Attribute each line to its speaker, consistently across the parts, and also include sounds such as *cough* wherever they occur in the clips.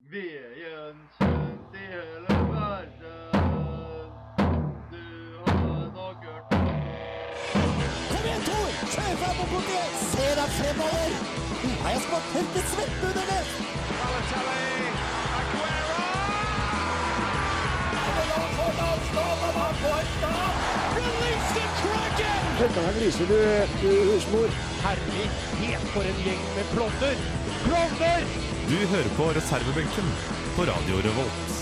Speaker 1: ved Jensen i hele verden. Du har nok hørt om
Speaker 2: Kom igjen, Tor! Kjør fram og bort igjen! Se deg fremover! Du har jeg smakt tørket svette under det!
Speaker 3: Du hører på reservebenken på Radio Revolt.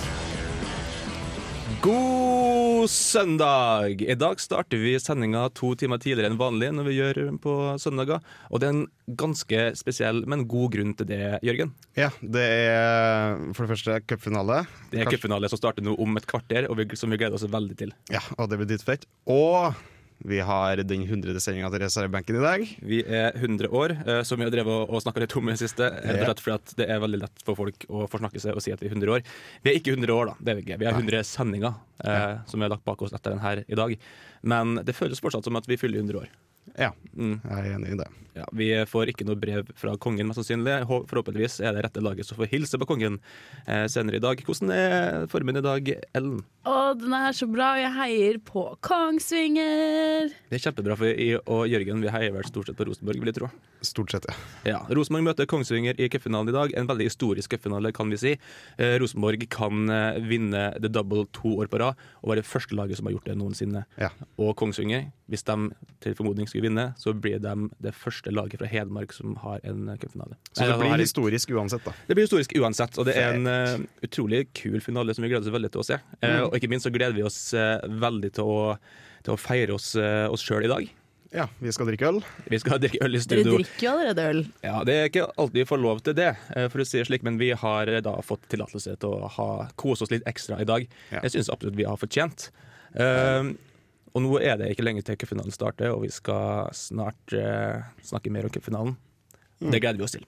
Speaker 3: God søndag! I dag starter vi sendinga to timer tidligere enn vanlig når vi gjør på søndager. Og det er en ganske spesiell, men god grunn til det, Jørgen.
Speaker 4: Ja, det er for det første cupfinale.
Speaker 3: Det er
Speaker 4: Kanskje-
Speaker 3: cupfinale som starter nå om et kvarter, og vi, som vi gleder oss veldig til.
Speaker 4: Ja, og det blir dritfett. Og vi har den hundrede sendinga til reservebenken i dag.
Speaker 3: Vi er 100 år, eh, som vi har drevet og- og snakka litt om i det siste. Rett og slett fordi at det er veldig lett for folk å forsnakke seg og si at vi er 100 år. Vi er ikke 100 år, da. Det er vi ikke. Vi har 100 sendinger eh, som vi har lagt bak oss etter den her i dag. Men det føles fortsatt som at vi fyller 100 år.
Speaker 4: Ja,
Speaker 3: Mm.
Speaker 4: jeg er enig i det.
Speaker 3: Ja, vi får ikke noe brev fra kongen, mest sannsynlig. Hå- Forhåpentligvis er det rette laget som får hilse på kongen eh, senere i dag. Hvordan er formen i dag, Ellen?
Speaker 5: Og den er så bra, og jeg heier på Kongsvinger.
Speaker 3: Det er kjempebra, for jeg og Jørgen vi heier vel stort sett på Rosenborg, vil jeg tro.
Speaker 4: Stort sett, ja.
Speaker 3: Ja, Rosenborg møter Kongsvinger i cupfinalen i dag. En veldig historisk cupfinale, kan vi si. Eh, Rosenborg kan eh, vinne the double to år på rad og være førstelaget som har gjort det noensinne.
Speaker 4: ja.
Speaker 3: Og Kongsvinger, hvis de til formodning skulle vinne, så blir de det første laget fra Hedmark som har en eh, cupfinale.
Speaker 4: Så
Speaker 3: Nei,
Speaker 4: det
Speaker 3: har
Speaker 4: blir
Speaker 3: en-
Speaker 4: historisk uansett, da.
Speaker 3: det blir historisk uansett, og det er en eh, utrolig kul finale som vi gleder oss veldig til å se. Eh,
Speaker 4: Mm.
Speaker 3: og ikke minst så gleder vi oss eh, veldig til å, til å feire oss, eh, oss sjøl i dag.
Speaker 4: Ja, vi skal drikke øl.
Speaker 3: Vi skal drikke øl i
Speaker 5: Dere
Speaker 3: studio.
Speaker 5: drikker jo allerede øl.
Speaker 3: Ja, Det er ikke alltid vi får lov til det, eh, for å si det slik, men vi har eh, da fått tillatelse til å ha, kose oss litt ekstra i dag.
Speaker 4: Ja.
Speaker 3: Jeg syns absolutt vi har fortjent. Eh, og nå er det ikke lenge til cupfinalen starter, og vi skal snart eh, snakke mer om cupfinalen.
Speaker 6: Mm.
Speaker 3: Det gleder vi oss til.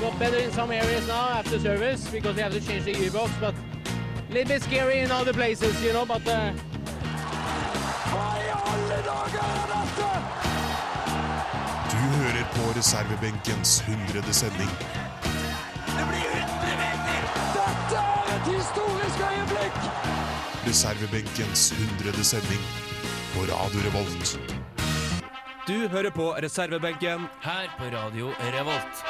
Speaker 7: got better in some areas now after service because they have to change the gearbox, but a little bit scary in other places, you know. But uh,
Speaker 8: Du hører på reservebenkens 100. sending. Det blir 100 meter! Dette er et historisk øyeblikk! Reservebenkens 100. sending på Radio Revolt.
Speaker 3: Du hører på reservebenken.
Speaker 9: her på Radio Revolt.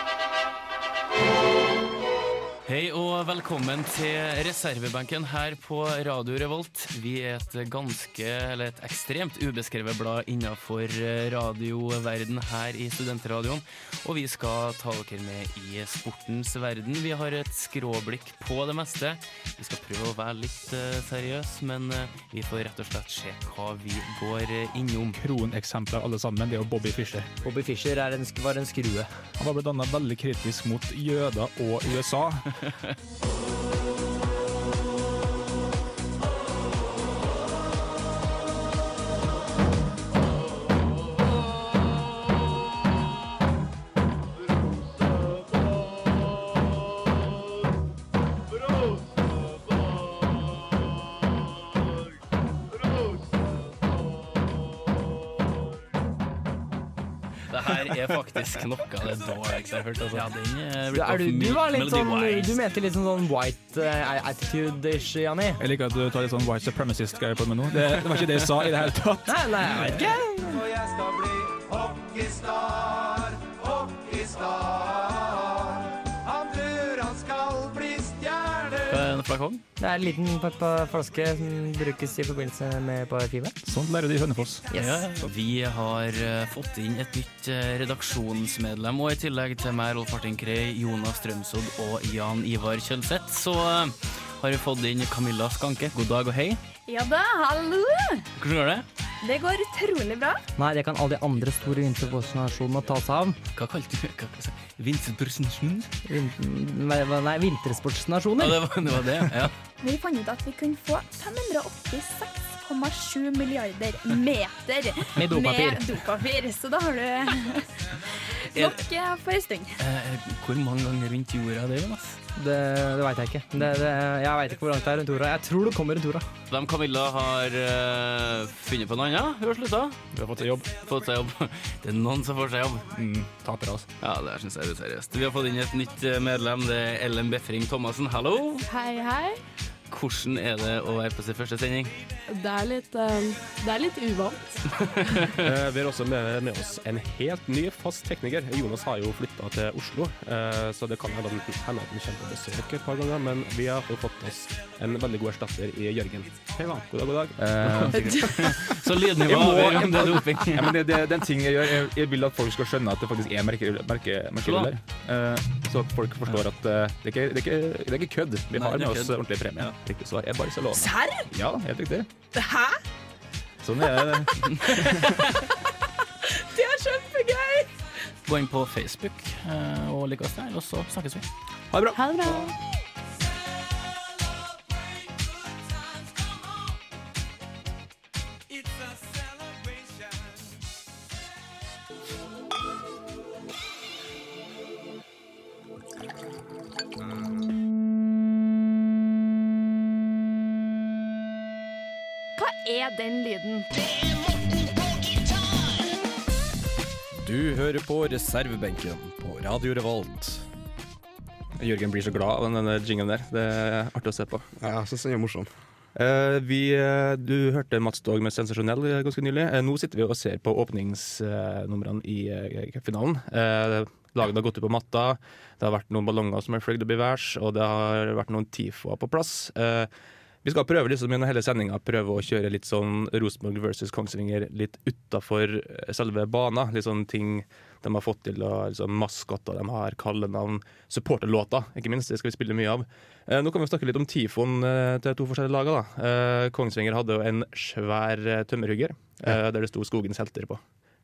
Speaker 9: Hei og velkommen til reservebenken her på Radio Revolt. Vi er et ganske, eller et ekstremt ubeskrevet blad innenfor eh, radioverden her i Studentradioen. Og vi skal ta dere med i sportens verden. Vi har et skråblikk på det meste. Vi skal prøve å være litt eh, seriøs, men eh, vi får rett og slett se hva vi går eh, innom.
Speaker 10: kroneksempler alle sammen, det er jo Bobby Fischer.
Speaker 6: Bobby Fischer er en, var en skrue.
Speaker 10: Han var bl.a. veldig kritisk mot jøder og USA.
Speaker 1: Rosenborg. Rosenborg.
Speaker 9: Det her er faktisk noe av det dårligste jeg har hørt. Altså. Ja, den er,
Speaker 6: Er du, du var litt sånn Du mente litt sånn, sånn white eh, attitude-ish, Janni?
Speaker 10: Jeg liker at du tar litt sånn white supremacist-greier på meg nå. Det, det var ikke det jeg sa i det hele tatt.
Speaker 6: Nei, nei, jeg vet ikke.
Speaker 9: En flakong?
Speaker 6: Det er en liten pappa- flaske som brukes i forbindelse med parfyme.
Speaker 10: Sånt lærer de i Hønefoss.
Speaker 6: Yes.
Speaker 9: Ja, Vi har eh, fått inn et nytt eh, redaksjonsmedlem, og i tillegg til meg, Rolf Martin Krei, Jonas Strømsodd og Jan Ivar Kjølseth, så eh, har vi fått inn Camilla Skanke. God dag og hei.
Speaker 5: Ja da, hallo!
Speaker 9: Hvordan går det?
Speaker 5: Det går utrolig bra.
Speaker 6: Nei, det kan alle de andre store vintersportsnasjonene ta seg av.
Speaker 9: Hva kalte du hva, hva, sa- Vinterbrusensjon?
Speaker 6: Vin- Nei, hva- nei,
Speaker 9: Ja,
Speaker 6: vintersportsnasjoner.
Speaker 9: det var det. Var det. Ja.
Speaker 11: Vi fant ut at vi kunne få 586,7
Speaker 6: *laughs*
Speaker 11: milliarder meter
Speaker 6: Med dopapir. *laughs*
Speaker 11: med dopapir. Så da har du nok eh, for en stund.
Speaker 9: Eh, Hvor mange ganger rundt jorda er det, Jonas?
Speaker 6: Det, det veit jeg ikke. Det, det, jeg veit ikke hvor langt det er rundt jorda. Jeg tror det kommer rundt jorda.
Speaker 9: De Camilla har eh, funnet på noe annet. Hun har slutta. Hun har fått seg jobb. *laughs* Det er noen som får seg jobb. Tapere, altså. Ja, det syns jeg er useriøst. Vi har fått inn et nytt eh, medlem. Det er Ellen Befring Thomassen. Hallo.
Speaker 12: Hei, hei.
Speaker 9: Hvordan er det å være på sin første sending?
Speaker 12: Det er litt, eh, det er litt uvant.
Speaker 13: Eh, Vi har også med, med oss en helt ny fast tekniker. Jonas har jo flytta til Oslo, eh, så det kan hende at han hende at han kommer på besøk et par ganger. Men vi har fått- fått oss en veldig god erstatter i Jørgen. Hei, da. God dag, god dag.
Speaker 6: Eh,
Speaker 9: Så lydnivået
Speaker 10: Jeg må-
Speaker 9: avgjør om det er
Speaker 6: *laughs*
Speaker 9: doping.
Speaker 10: ja, men det, det, det er en ting jeg gjør. Jeg, jeg vil at folk skal skjønne at det faktisk er merke, merke,
Speaker 9: Slå.
Speaker 10: merkerull der. Eh, så at folk forstår at eh, det, er ikke, det, er ikke, det er ikke kødd. Vi
Speaker 9: Nei,
Speaker 10: har
Speaker 9: det
Speaker 10: med
Speaker 9: er
Speaker 10: oss
Speaker 9: kødd.
Speaker 10: ordentlig premie. Riktig svar er Barcelona.
Speaker 5: Serr?
Speaker 10: Ja, helt riktig.
Speaker 5: Hæ?
Speaker 10: Sånn er det.
Speaker 5: Det er kjempegøy!
Speaker 9: Gå inn på Facebook eh, og lik oss der, og så snakkes vi.
Speaker 10: Ha det bra.
Speaker 5: Ha det bra.
Speaker 11: Hva er den lyden?
Speaker 3: Du hører på reservebenken på Radio Revolt. Jørgen blir så glad av den- denne jingen der. Det er artig å se på.
Speaker 4: Ja, jeg syns den er morsom.
Speaker 3: Eh, vi, eh, du hørte Mats Dog med 'Sensasjonell' eh, ganske nylig. Eh, nå sitter vi og ser på åpningsnumrene i eh, cupfinalen. Eh, lagene har gått ut på matta, det har vært noen ballonger som er fløyet opp i værs, og det har vært noen tifoer på plass. Eh, vi skal prøve liksom gjennom hele sendinga prøve å kjøre litt sånn Rosenborg versus Kongsvinger litt utafor eh, selve bana. Litt sånn ting de har fått til, og liksom maskotter de har, kallenavn, supporterlåter, ikke minst. Det skal vi spille mye av. Eh, nå kan vi snakke litt om tifoen eh, til to forskjellige lag. da. Eh, Kongsvinger hadde jo en svær eh, tømmerhugger eh, der det sto 'Skogens helter' på.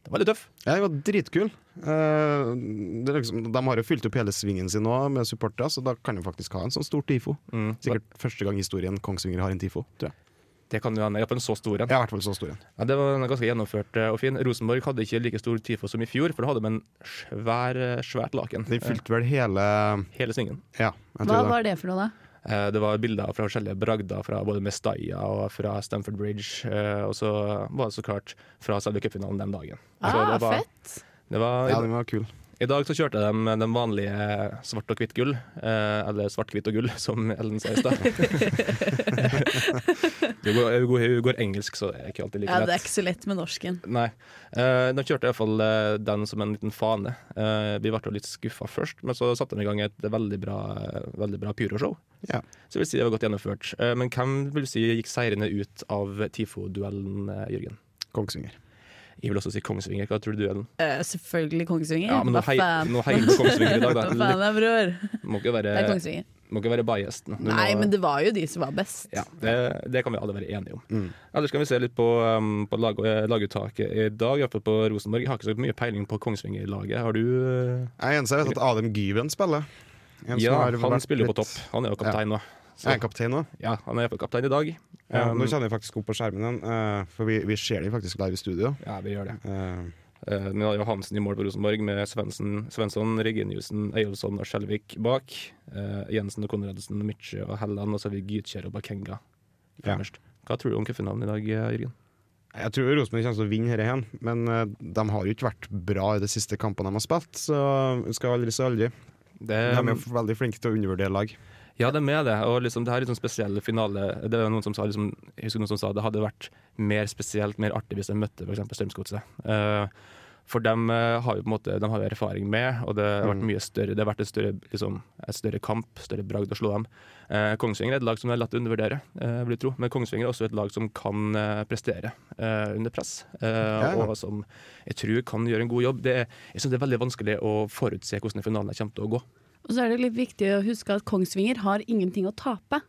Speaker 3: Den var litt tøff.
Speaker 4: Ja, den var dritkul. Eh, det er liksom, de har jo fylt opp hele svingen sin nå med supportere, så da kan de faktisk ha en sånn stor TIFO.
Speaker 3: Mm.
Speaker 4: Sikkert første gang i historien Kongsvinger har en TIFO, tror jeg.
Speaker 3: Det kan jo hende. Iallfall en så stor en.
Speaker 4: Ja, i hvert fall så stor en.
Speaker 3: Ja, det var en ganske gjennomført eh, og fin. Rosenborg hadde ikke like stor tifo som i fjor, for da hadde de en svær, eh, svært laken. Eh,
Speaker 4: Den fylte vel hele
Speaker 3: Hele svingen.
Speaker 4: Ja,
Speaker 5: Hva var det for noe, da?
Speaker 3: Eh, Det var bilder fra forskjellige bragder fra både Mestalla og fra Stamford Bridge. eh, Og så var det så klart fra selve cupfinalen den dagen. Så
Speaker 5: Ah,
Speaker 3: det var-
Speaker 5: fett.
Speaker 3: Det var,
Speaker 4: Ja, den var kul.
Speaker 3: I dag så kjørte de den vanlige svart og hvitt gull, eh, eller svart, hvitt og gull, *laughs* som Ellen sa
Speaker 5: *laughs*
Speaker 3: i stad. Hun går, hun går- hun går engelsk, så det er ikke alltid like
Speaker 5: Ja,
Speaker 3: lett.
Speaker 5: det er ikke så lett med norsken.
Speaker 3: Nei. Eh, de kjørte iallfall uh, den som en liten fane. Eh, vi ble jo litt skuffa først, men så satte de i gang et veldig bra, eh, veldig bra pyroshow.
Speaker 4: Ja.
Speaker 3: Så jeg vil si det var godt gjennomført. Eh, men hvem vil du si gikk seirende ut av TIFO-duellen, eh, Jørgen?
Speaker 4: Kongsvinger.
Speaker 3: Jeg vil også si Kongsvinger. Hva tror du duellen?
Speaker 5: Eh, selvfølgelig Kongsvinger.
Speaker 3: Ja, men nå
Speaker 5: Hva
Speaker 3: hei-
Speaker 5: faen?
Speaker 3: nå heier vi på Kongsvinger i dag, da.
Speaker 5: Hva faen da, bror?
Speaker 3: Må ikke være,
Speaker 5: Det er Kongsvinger.
Speaker 3: Må ikke være biased. Eh, nå. Du
Speaker 5: Nei,
Speaker 3: må-
Speaker 5: men det var jo de som var best.
Speaker 3: Ja, det, det kan vi alle være enige om. Ellers kan vi se litt på, um, på lag, eh, laguttaket i dag, iallfall på Rosenborg. Jeg har ikke så mye peiling på Kongsvinger-laget. Har du eh,
Speaker 4: Jeg eneste jeg vet at Adam Gyven spiller. En som
Speaker 3: Ja,
Speaker 4: har
Speaker 3: han
Speaker 4: vært
Speaker 3: spiller jo på
Speaker 4: litt-
Speaker 3: topp. Han er jo kaptein nå.
Speaker 4: Er han kaptein nå?
Speaker 3: Ja, han er iallfall kaptein i dag.
Speaker 4: Ja,
Speaker 3: Um,
Speaker 4: nå kjenner jeg faktisk opp på skjermen igjen, eh, for vi, vi ser det faktisk live i studio.
Speaker 3: Ja, vi gjør det. Eh, Vi har jo Hansen i mål på Rosenborg, med Svensson, Svensson Reginiussen, Eyolfsson og Skjelvik bak. Eh, Jensen og Konradsen, Mitche og Helland, og så har vi Gytkjær og Bakenga fremst. Hva tror du om cupfinalen i dag, eh, Jørgen?
Speaker 4: Jeg tror Rosenborg kommer til å vinne dette, igjen, men eh, de har jo ikke vært bra i de siste kampene de har spilt, så vi skal aldri si aldri. de
Speaker 12: Um,
Speaker 4: er jo veldig flinke til å undervurdere lag.
Speaker 3: Ja, de er det. Og liksom, det her er litt sånn spesiell finale. Det er jo noen som sa, liksom, jeg husker noen som sa det hadde vært mer spesielt, mer artig hvis de møtte f.eks. Strømsgodset. Eh, for dem eh, har jo på en måte de har jo erfaring med, og det har vært
Speaker 4: Mm.
Speaker 3: mye større Det har vært et større, liksom, et større kamp, større bragd å slå dem. Eh, Kongsvinger er et lag som er lett å undervurdere, eh, vil jeg tro. Men Kongsvinger er også et lag som kan eh, prestere eh, under press, eh,
Speaker 4: Ja, ja.
Speaker 3: og som jeg tror kan gjøre en god jobb. Det er, jeg synes det er veldig vanskelig å forutse hvordan finalen kommer til å gå.
Speaker 12: Og så er det litt viktig å huske at Kongsvinger har ingenting å tape.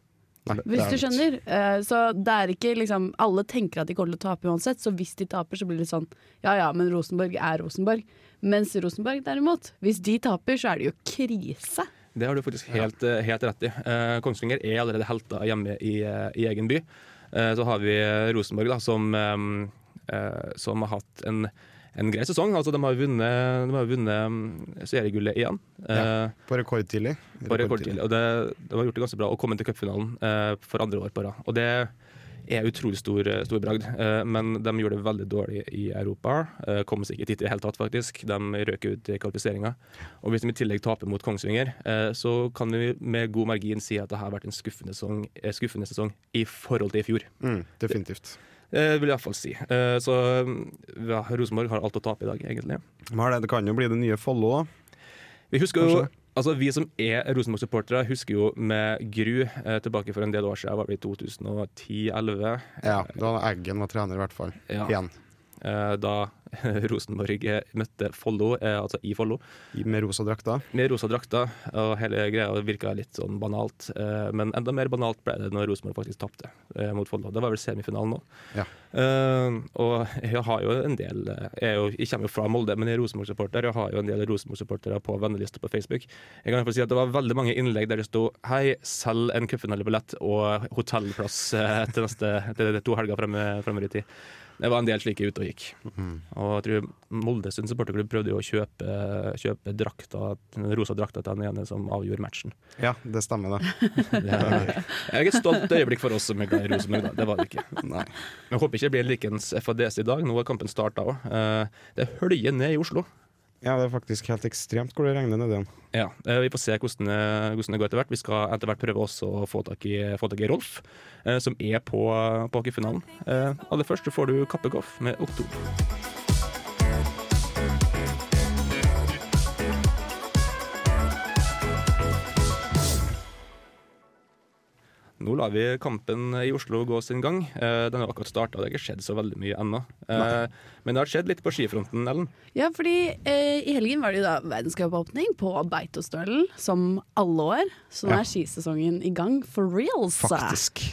Speaker 12: Hvis du skjønner. Eh, Så det er ikke liksom Alle tenker at de kommer til å tape uansett, så hvis de taper, så blir det sånn ja ja, men Rosenborg er Rosenborg. Mens Rosenborg derimot, hvis de taper, så er det jo krise.
Speaker 3: Det har du faktisk helt, eh, helt rett i. Eh, Kongsvinger er allerede helter hjemme i, eh, i egen by. Eh, så har vi Rosenborg, da, som, eh, eh, som har eh, hatt en, en grei sesong. Altså, de har vunnet, de har vunnet mm, seriegullet igjen.
Speaker 4: Ja,
Speaker 3: Eh,
Speaker 4: på rekordtidlig.
Speaker 3: på rekordtid. Og det, de har gjort det ganske bra og kommet til cupfinalen eh, for andre år på rad. Og det er utrolig stor, stor bragd, eh, men de gjorde det veldig dårlig i Europa. Eh, kom seg ikke dit i det hele tatt, faktisk. De røk ut i kvalifiseringa. Og hvis de i tillegg taper mot Kongsvinger, eh, så kan vi med god margin si at det har vært en skuffende sesong, eh, skuffende sesong i forhold til i fjor.
Speaker 4: Mm, definitivt.
Speaker 3: Eh, vil jeg iallfall si. Eh, så ja, Rosenborg har alt å tape i dag, egentlig.
Speaker 4: Hva er det? det kan jo bli det nye Follo, da.
Speaker 3: Vi husker jo
Speaker 4: Kanskje.
Speaker 3: Altså, vi som er Rosenborg-supportere, husker jo med gru eh, tilbake for en del år siden, var det i 2010-2011,
Speaker 4: Ja, da Eggen var trener, i hvert fall.
Speaker 3: Ja.
Speaker 4: Igjen.
Speaker 3: eh, da *laughs* Rosenborg eh, møtte Follo, eh, altså i Follo.
Speaker 4: Med rosa drakter.
Speaker 3: Med rosa drakter, og hele greia virka litt sånn banalt. eh, Men enda mer banalt ble det når Rosenborg faktisk tapte eh, mot Follo. Det var vel semifinalen nå.
Speaker 4: Ja.
Speaker 3: Eh, og jeg har jo en del eh, jeg, er jo, jeg kommer jo fra Molde, men jeg er Rosenborg-supporter. Jeg har jo en del Rosenborg-supportere på vennelista på Facebook. Jeg kan i hvert fall si at Det var veldig mange innlegg der det sto 'Hei, selg en cupfinalebillett og hotellplass eh, til, neste, til de to helger fremme- fremover i tid'. Det var en del slike ute og gikk. Og jeg tror Molde sin supporterklubb prøvde jo å kjøpe, kjøpe drakta, den rosa drakta til den ene som avgjorde matchen.
Speaker 4: Ja, det stemmer, det.
Speaker 3: Det er ikke et stolt øyeblikk for oss som er glad i Rosenborg, da. Det var det ikke.
Speaker 4: Nei.
Speaker 3: Men jeg håper ikke det blir likens FADC i dag. Nå er kampen starta òg. Det høljer ned i Oslo.
Speaker 4: Ja, det er faktisk helt ekstremt hvor det regner nedi igjen.
Speaker 3: Ja, eh, Vi får se hvordan, eh, hvordan det går etter hvert. Vi skal etter hvert prøve også å få tak i, få tak i Rolf, eh, som er på, på hockeyfinalen. Eh, aller først så får du Kappekoff med Oktober. Nå lar vi kampen i Oslo gå sin gang. Eh, Den har akkurat starta, det har ikke skjedd så veldig mye ennå. Eh, Men det har skjedd litt på skifronten, Ellen.
Speaker 12: Ja, fordi eh, i helgen var det jo da verdenscupåpning på Beitostølen, som alle år. Så nå
Speaker 3: Ja.
Speaker 12: er skisesongen i gang, for reals.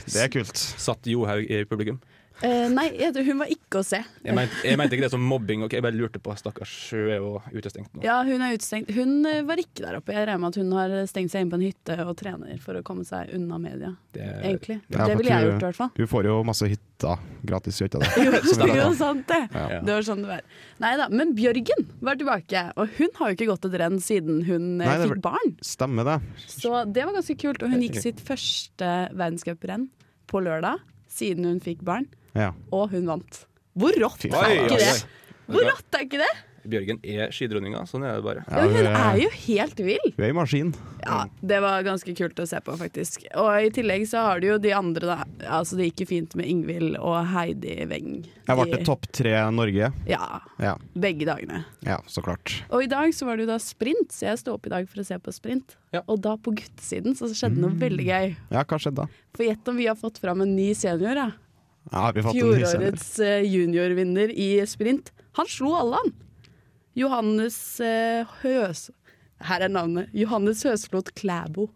Speaker 4: Det er kult.
Speaker 3: Satt Johaug i publikum?
Speaker 12: Eh, nei, jeg tror hun var ikke å se.
Speaker 3: Jeg mente, jeg mente ikke det som mobbing, ok, jeg bare lurte på. Stakkars, hun er jo utestengt nå.
Speaker 12: Ja, hun er utestengt. Hun eh, var ikke der oppe. Jeg regner med at hun har stengt seg inne på en hytte og trener for å komme seg unna media. Egentlig.
Speaker 4: Ja,
Speaker 12: det
Speaker 4: for
Speaker 12: ville jeg
Speaker 4: du-
Speaker 12: gjort, i hvert fall.
Speaker 4: Du får jo masse hytter gratis, gjør ikke det?
Speaker 12: *laughs* Jo,
Speaker 4: Så
Speaker 12: det
Speaker 4: bra,
Speaker 12: er jo
Speaker 4: da.
Speaker 12: sant det.
Speaker 4: Ja.
Speaker 12: Det var sånn det var. Nei da, men Bjørgen var tilbake, og hun har jo ikke gått et renn siden hun eh,
Speaker 4: Nei, det
Speaker 12: fikk
Speaker 4: var-
Speaker 12: barn.
Speaker 4: Stemmer det.
Speaker 12: Så det var ganske kult, og hun gikk sitt første verdenscuprenn på lørdag siden hun fikk barn,
Speaker 4: Ja.
Speaker 12: og hun vant. Hvor rått
Speaker 3: Fy
Speaker 12: er
Speaker 3: faen. Oi,
Speaker 12: ikke
Speaker 3: oi,
Speaker 12: det?
Speaker 3: oi.
Speaker 12: Hvor rått er ikke det?
Speaker 3: Bjørgen er skidronninga, sånn er det bare.
Speaker 12: Ja, hun er jo helt vill.
Speaker 4: Hun er i maskin.
Speaker 12: Ja, det var ganske kult å se på, faktisk. Og i tillegg så har du jo de andre, da. Altså, det gikk jo fint med Ingvild og Heidi Weng.
Speaker 4: Jeg
Speaker 12: De-
Speaker 4: ble topp tre Norge.
Speaker 12: Ja.
Speaker 4: Ja,
Speaker 12: Begge dagene.
Speaker 4: ja så klart.
Speaker 12: Og i dag så var det jo da sprint, så jeg sto opp i dag for å se på sprint. Og da på guttesiden så skjedde
Speaker 4: Mm.
Speaker 12: noe veldig gøy.
Speaker 4: Ja, hva skjedde da?
Speaker 12: For gjett om vi har fått fram en ny senior, da.
Speaker 4: Ja, har vi fått en ny sender?
Speaker 12: Fjorårets eh, juniorvinner i sprint. Han slo alle, han. Johannes eh, Høs... Her er navnet. Johannes Høsflot Klæbo.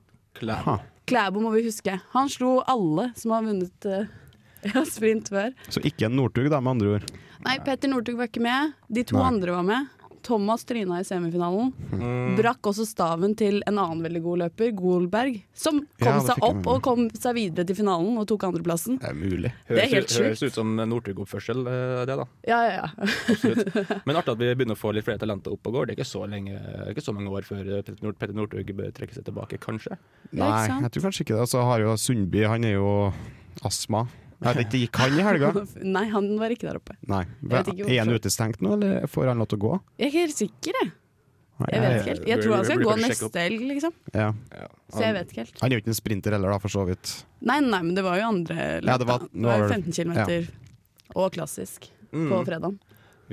Speaker 3: Klæbo.
Speaker 12: Klæbo må vi huske. Han slo alle som har vunnet eh, *laughs* ja, sprint før.
Speaker 4: Så ikke en Northug, da, med andre ord.
Speaker 12: Nei, Petter Northug var ikke med. De to
Speaker 4: Nei.
Speaker 12: andre var med. Thomas tryna i semifinalen.
Speaker 3: Mm.
Speaker 12: Brakk også staven til en annen veldig god løper, Golberg, som kom
Speaker 3: Ja, det fikk
Speaker 12: seg
Speaker 3: jeg
Speaker 12: opp
Speaker 3: med meg.
Speaker 12: og kom seg videre til finalen og tok andreplassen.
Speaker 4: Det er mulig.
Speaker 12: Det er helt
Speaker 3: ut- høres ut som Northug-oppførsel, eh, det da.
Speaker 12: Ja, ja, ja. *laughs*
Speaker 3: Men artig at vi begynner å få litt flere talenter opp og går. Det er ikke så, lenge, ikke så mange år før eh, Petter Nord- Petter Northug bør trekke seg tilbake, kanskje.
Speaker 4: Nei, jeg tror kanskje ikke det. Og så har jo Sundby, han er jo astma. Jeg vet ikke, det gikk han i helga?
Speaker 12: *laughs* Nei, han var ikke der oppe.
Speaker 4: Nei.
Speaker 12: vet ikke hvorfor.
Speaker 4: Er han utestengt nå, eller får han lov til å gå?
Speaker 12: Jeg er ikke helt sikker, jeg.
Speaker 4: Nei,
Speaker 12: Jeg vet ikke helt. Jeg tror han skal
Speaker 4: burde
Speaker 12: gå
Speaker 4: kanskje sjekke
Speaker 12: neste helg, liksom.
Speaker 4: Ja.
Speaker 12: Så jeg vet ikke helt.
Speaker 4: Han er jo ikke en sprinter heller, da, for så vidt.
Speaker 12: Nei, nei, nei, men det var jo andre løp.
Speaker 4: Ja, det var-
Speaker 12: da.
Speaker 4: det
Speaker 12: det var
Speaker 4: var
Speaker 12: jo
Speaker 4: vel-
Speaker 12: 15 km. Og klassisk på
Speaker 3: Mm.
Speaker 12: fredagen.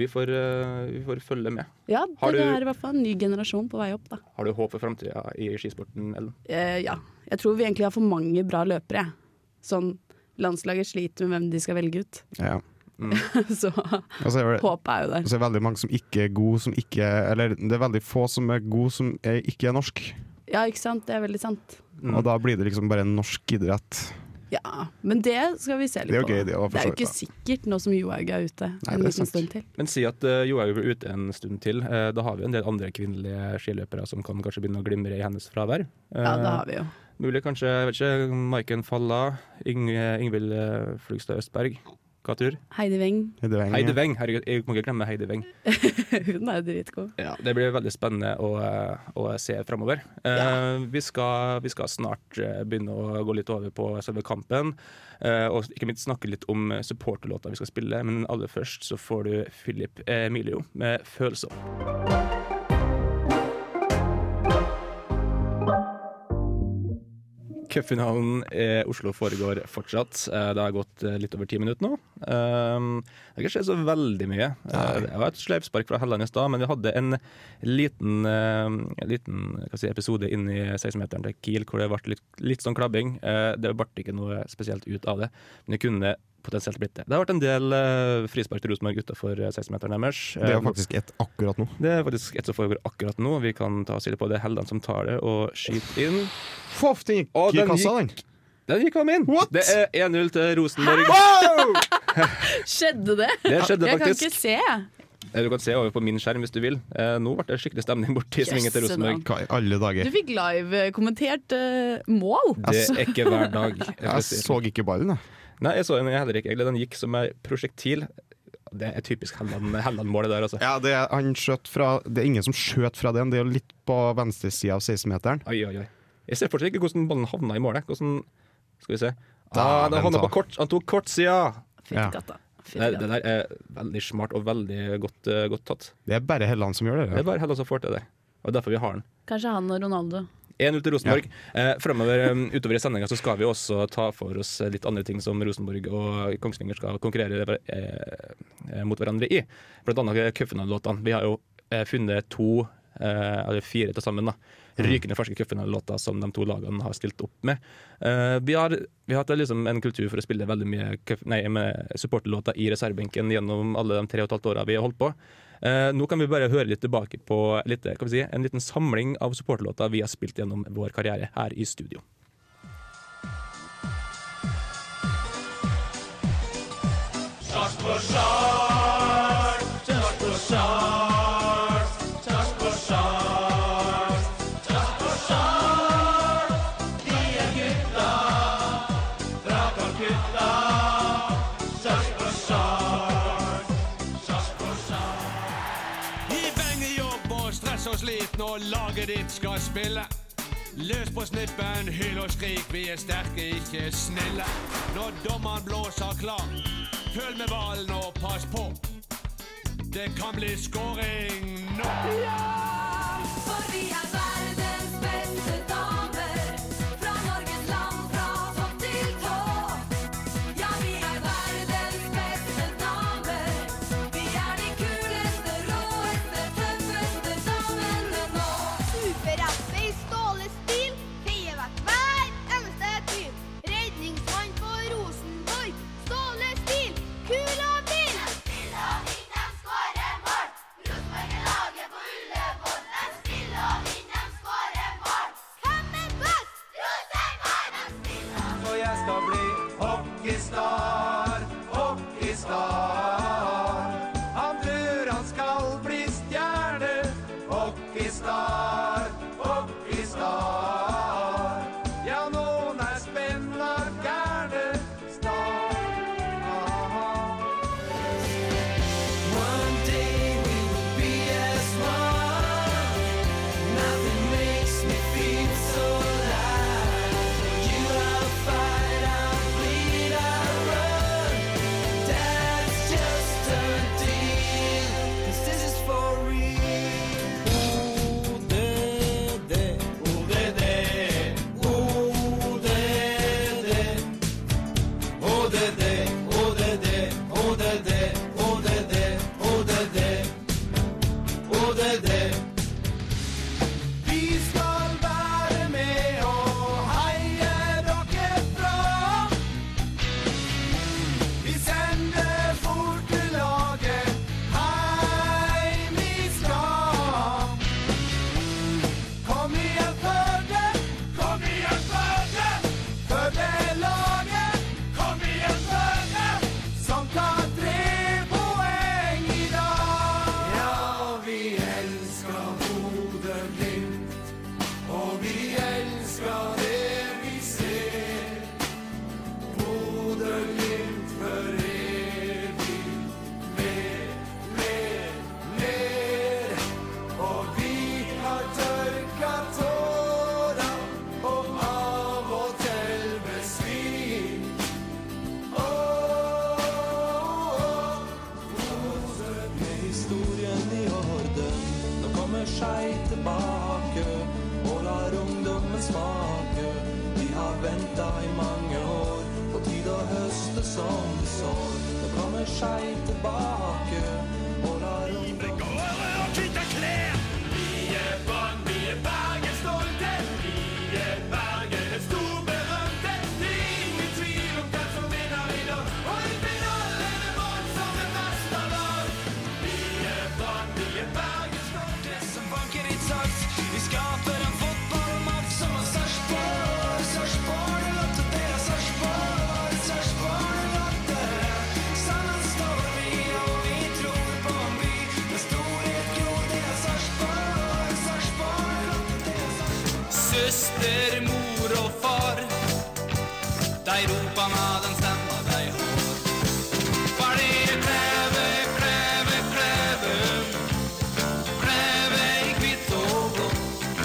Speaker 3: Vi får, eh, vi får følge med.
Speaker 12: Ja,
Speaker 3: Har
Speaker 12: det
Speaker 3: du-
Speaker 12: er i hvert fall en ny generasjon på vei opp, da.
Speaker 3: Har du håp for framtida i skisporten, Ellen?
Speaker 12: Eh, ja. Jeg tror vi egentlig har for mange bra løpere, jeg. Sånn landslaget sliter med hvem de skal velge ut. *laughs*
Speaker 4: Ja.
Speaker 12: så
Speaker 4: Og så er det-
Speaker 12: håpet er jo
Speaker 4: Og
Speaker 12: der.
Speaker 4: så er det veldig mange som ikke er gode, som ikke Eller det er veldig få som er gode, som er, ikke er norsk.
Speaker 12: Ja, ikke sant? Det er veldig sant.
Speaker 4: Og da blir det liksom bare en norsk idrett.
Speaker 12: Ja, Men det skal vi se litt
Speaker 4: Det er jo
Speaker 12: på. da.
Speaker 4: gøy, det, å for
Speaker 12: det er
Speaker 4: så
Speaker 12: jo ikke sikkert nå som Johaug er ute
Speaker 3: det er
Speaker 12: en liten
Speaker 3: sant.
Speaker 12: stund til.
Speaker 3: Men si at uh, Johaug blir ute en stund til. Eh, da har vi en del andre kvinnelige skiløpere som kan kanskje begynne å glimre i hennes fravær.
Speaker 12: Ja, det
Speaker 3: Eh,
Speaker 12: har vi jo.
Speaker 3: Mulig kanskje, jeg vet ikke, Maiken Falla, Ing Ingvild eh, Flugstad Østberg. Hva tror du?
Speaker 12: Heidi Weng. *laughs*
Speaker 4: Heidi Weng,
Speaker 3: Heidi Weng. Herregud, jeg må ikke glemme Heidi Weng.
Speaker 12: Hun er jo dritgod.
Speaker 3: Ja, det blir veldig spennende å, eh, å se framover. Eh, vi, skal, vi skal snart eh, begynne å gå litt over på selve kampen. eh, og ikke minst snakke litt om eh, supporterlåta vi skal spille, men aller først så får du Philip Emilio med 'Følelser'. Cupfinalen i Oslo foregår fortsatt. Eh, Det har gått eh, litt over ti minutter nå. Um, Det har ikke skjedd så veldig mye. Eh, Det var et sleivspark fra Helland i stad, men vi hadde en liten, eh, liten hva skal jeg si, episode inn i 16-meteren til Kiel hvor det ble litt, litt sånn klabbing. Eh, Det ble ikke noe spesielt ut av det, men det kunne potensielt blitt det. Det har vært en del eh, frispark til Rosenborg utenfor eh, 16-meteren deres.
Speaker 4: Det er
Speaker 3: Eh,
Speaker 4: faktisk et akkurat nå.
Speaker 3: det er faktisk et som foregår akkurat nå. Vi kan ta oss litt på det. Helland som tar det og skyter inn.
Speaker 4: Foff, den gikk
Speaker 3: Å,
Speaker 4: i kassa, den.
Speaker 3: gikk- Den gikk om inn! Det er 1-0 til Rosenborg.
Speaker 12: Skjedde det?
Speaker 3: Det skjedde
Speaker 12: jeg
Speaker 3: faktisk.
Speaker 12: kan ikke se.
Speaker 3: Eh, Du kan se over på min skjerm hvis du vil. Eh, Nå ble det skikkelig stemning borti
Speaker 12: Jøsse
Speaker 3: svingen til Rosenborg.
Speaker 12: navn.
Speaker 4: Hva i alle dager?
Speaker 12: Du fikk live-kommentert eh, mål.
Speaker 3: Det er ikke hver
Speaker 4: *laughs*
Speaker 3: dag. eh,
Speaker 4: Jeg så ikke ballen, jeg.
Speaker 3: sånn. Nei, jeg så den heller ikke. egentlig. Den gikk som ei prosjektil. Det er typisk Helland- Helland-målet der, altså.
Speaker 4: Ja, det, er- han skjøt fra, det er ingen som skjøt fra den, det er jo litt på venstre side av 16-meteren.
Speaker 3: Oi, oi, oi. Jeg ser fortsatt ikke hvordan ballen havna i målet. Hvordan Skal vi se. Ah,
Speaker 4: Da,
Speaker 3: den
Speaker 4: vent
Speaker 3: havna
Speaker 4: da.
Speaker 3: på kort. Han tok kortsida!
Speaker 4: Ja.
Speaker 3: Nei, det der er veldig smart og veldig godt, eh, godt tatt.
Speaker 4: Det er bare Helland som gjør det.
Speaker 3: Det er bare Hellas som får til det. Og derfor vi har den.
Speaker 12: Kanskje han og Ronaldo.
Speaker 3: 1-0 til Rosenborg. Eh, fremover, um, utover i sendinga så skal vi også ta for oss litt andre ting som Rosenborg og Kongsvinger skal konkurrere hver- eh, eh, mot hverandre i. Blant annet cupfinalelåtene. Vi har jo eh, funnet to, eh, eller fire til sammen, da. Rykende ferske cupfinalelåter som de to lagene har stilt opp med. Eh, vi har vi har hatt liksom en kultur for å spille veldig mye cup- nei, med supporterlåter i reservebenken gjennom alle de tre og et halvt åra vi har holdt på. Eh, nå kan vi bare høre litt tilbake på litt, hva vi si, en liten samling av supporterlåter vi har spilt gjennom vår karriere her i studio.
Speaker 1: Start på start, start på start, start på start, start på start. De er gutta fra Calcutta. Start på start, start på start.
Speaker 14: Vi banger jobb og stress og slit når laget ditt skal spille. Løs på snippen, hyl og skrik, vi er sterke, ikke snille. Når dommeren blåser klar, følg med ballen og pass på. Det kan bli skåring nå.
Speaker 1: For vi er verdens beste damer, fra Norges land, fra topp til tå. Ja, vi er verdens beste damer. Vi er de kuleste, råeste, tøffeste damene nå. Superrappe i stålestil, feier hvert hver eneste dyr. Redningsmann for Rosenborg, stålestil, kul og bil. Stille og fint, de skårer mål. Rosenborg er laget på Ullevål. De stille og fint, de skårer mål. Hvem er best? Rosenborg!
Speaker 14: For jeg skal bli hockeystar, hockeystar. Han tror han skal bli stjerne, hockeystar, hockeystar. Ja, noen er spenna gærne, star. One day we will be as one. Nothing makes me feel so alive. You, I'll fight, I'll bleed, I'll run.
Speaker 15: venta i mange år. På tide å høste som vi sår. Nå kommer Skei tilbake og lar ungdom
Speaker 16: Søster, mor og far De ropa med den stemma de har Fordi kleve, kleve, kleve Kleve i kvitt og blått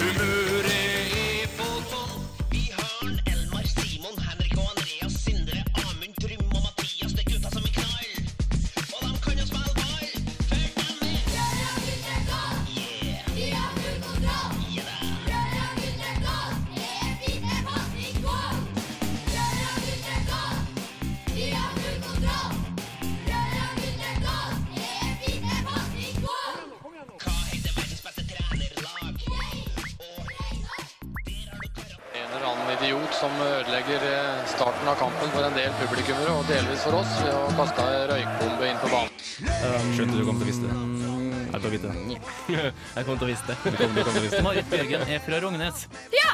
Speaker 16: Humøret er på topp Vi har Elmar, Simon, Henrik og Andreas Sindre, Amund, Trym og Mathias Det er gutta som er knall Og de kan jo spille ball Følg dem med Gjør dem litt godt De har full kontroll
Speaker 17: En eller annen idiot som ødelegger eh, starten av kampen for en del publikummere, og delvis for oss, ved å kaste ei røykbombe inn på banen.
Speaker 3: Skjønte du kom til å vise det. Jeg kom til å vite det.
Speaker 9: *laughs* Jeg kom til å vise det.
Speaker 3: Du kom- du kom til å vise det.
Speaker 9: Marit Bjørgen er fra Rognes.
Speaker 11: Ja!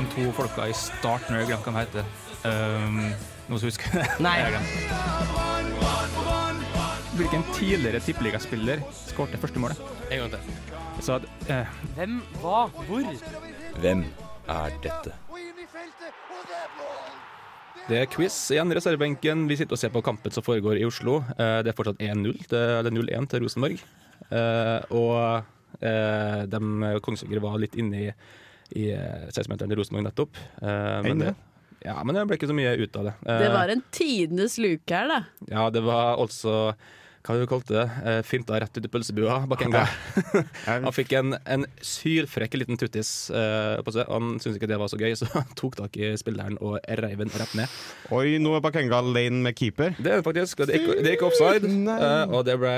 Speaker 10: De to folka i starten, jeg glemte hva de heter. Ehm, noen som husker *laughs* det?
Speaker 6: Nei.
Speaker 10: Jeg har glemt. Hvilken tidligere tippeligaspiller skårte første målet?
Speaker 9: En gang til.
Speaker 10: Så at, eh,
Speaker 9: Hvem, hva, hvor?
Speaker 18: Hvem er dette?
Speaker 3: Det er quiz igjen, reservebenken. Vi sitter og ser på kampen som foregår i Oslo. Eh, Det er fortsatt 1-0, til- eller 0-1 til Rosenborg. Eh, Og eh, de Kongsvinger var litt inne i, i eh, 16-meteren til Rosenborg nettopp. Eh,
Speaker 4: Enn det?
Speaker 3: Ja, men det ble ikke så mye ut av det. Eh,
Speaker 12: Det var en tidenes luke her, da.
Speaker 3: Ja, det var altså hva du kalte det? Eh, Finta rett ut i pølsebua bak en gang. Han fikk en, en sylfrekk liten tuttis eh, på seg. Han syntes ikke det var så gøy, så han tok tak i spilleren og reiv den rett ned.
Speaker 4: Oi, nå er Bakenga alene med keeper.
Speaker 3: Det er det faktisk. og Det gikk, det gikk offside,
Speaker 4: Nei.
Speaker 3: eh, og det ble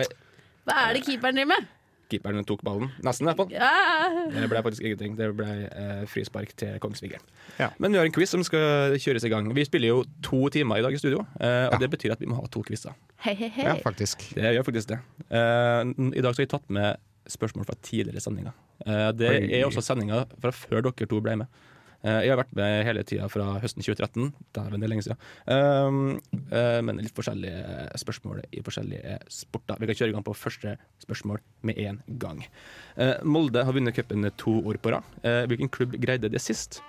Speaker 12: Hva er det keeperen driver med?
Speaker 3: Keeperen tok ballen. Nesten, i hvert fall. Det
Speaker 12: Ja.
Speaker 3: ble faktisk ingenting. Det ble eh, frispark til Kongsvinger.
Speaker 4: Ja.
Speaker 3: Men vi har en quiz som skal kjøres i gang. Vi spiller jo to timer i dag i studio, eh, og det betyr at vi må ha to quizer.
Speaker 12: Hei, hei, hei.
Speaker 4: faktisk.
Speaker 3: Det gjør faktisk det. Eh, I dag så har vi tatt med spørsmål fra tidligere sendinger. Eh, det
Speaker 4: Oi.
Speaker 3: er også sendinger fra før dere to ble med. Eh, jeg har vært med hele tida fra høsten 2013. Dæven, det er lenge siden. Eh, eh, men litt forskjellige spørsmål i forskjellige sporter. Vi kan kjøre i gang på første spørsmål med en gang. Eh, Molde har vunnet cupen to år på rad. Eh, hvilken klubb greide det sist?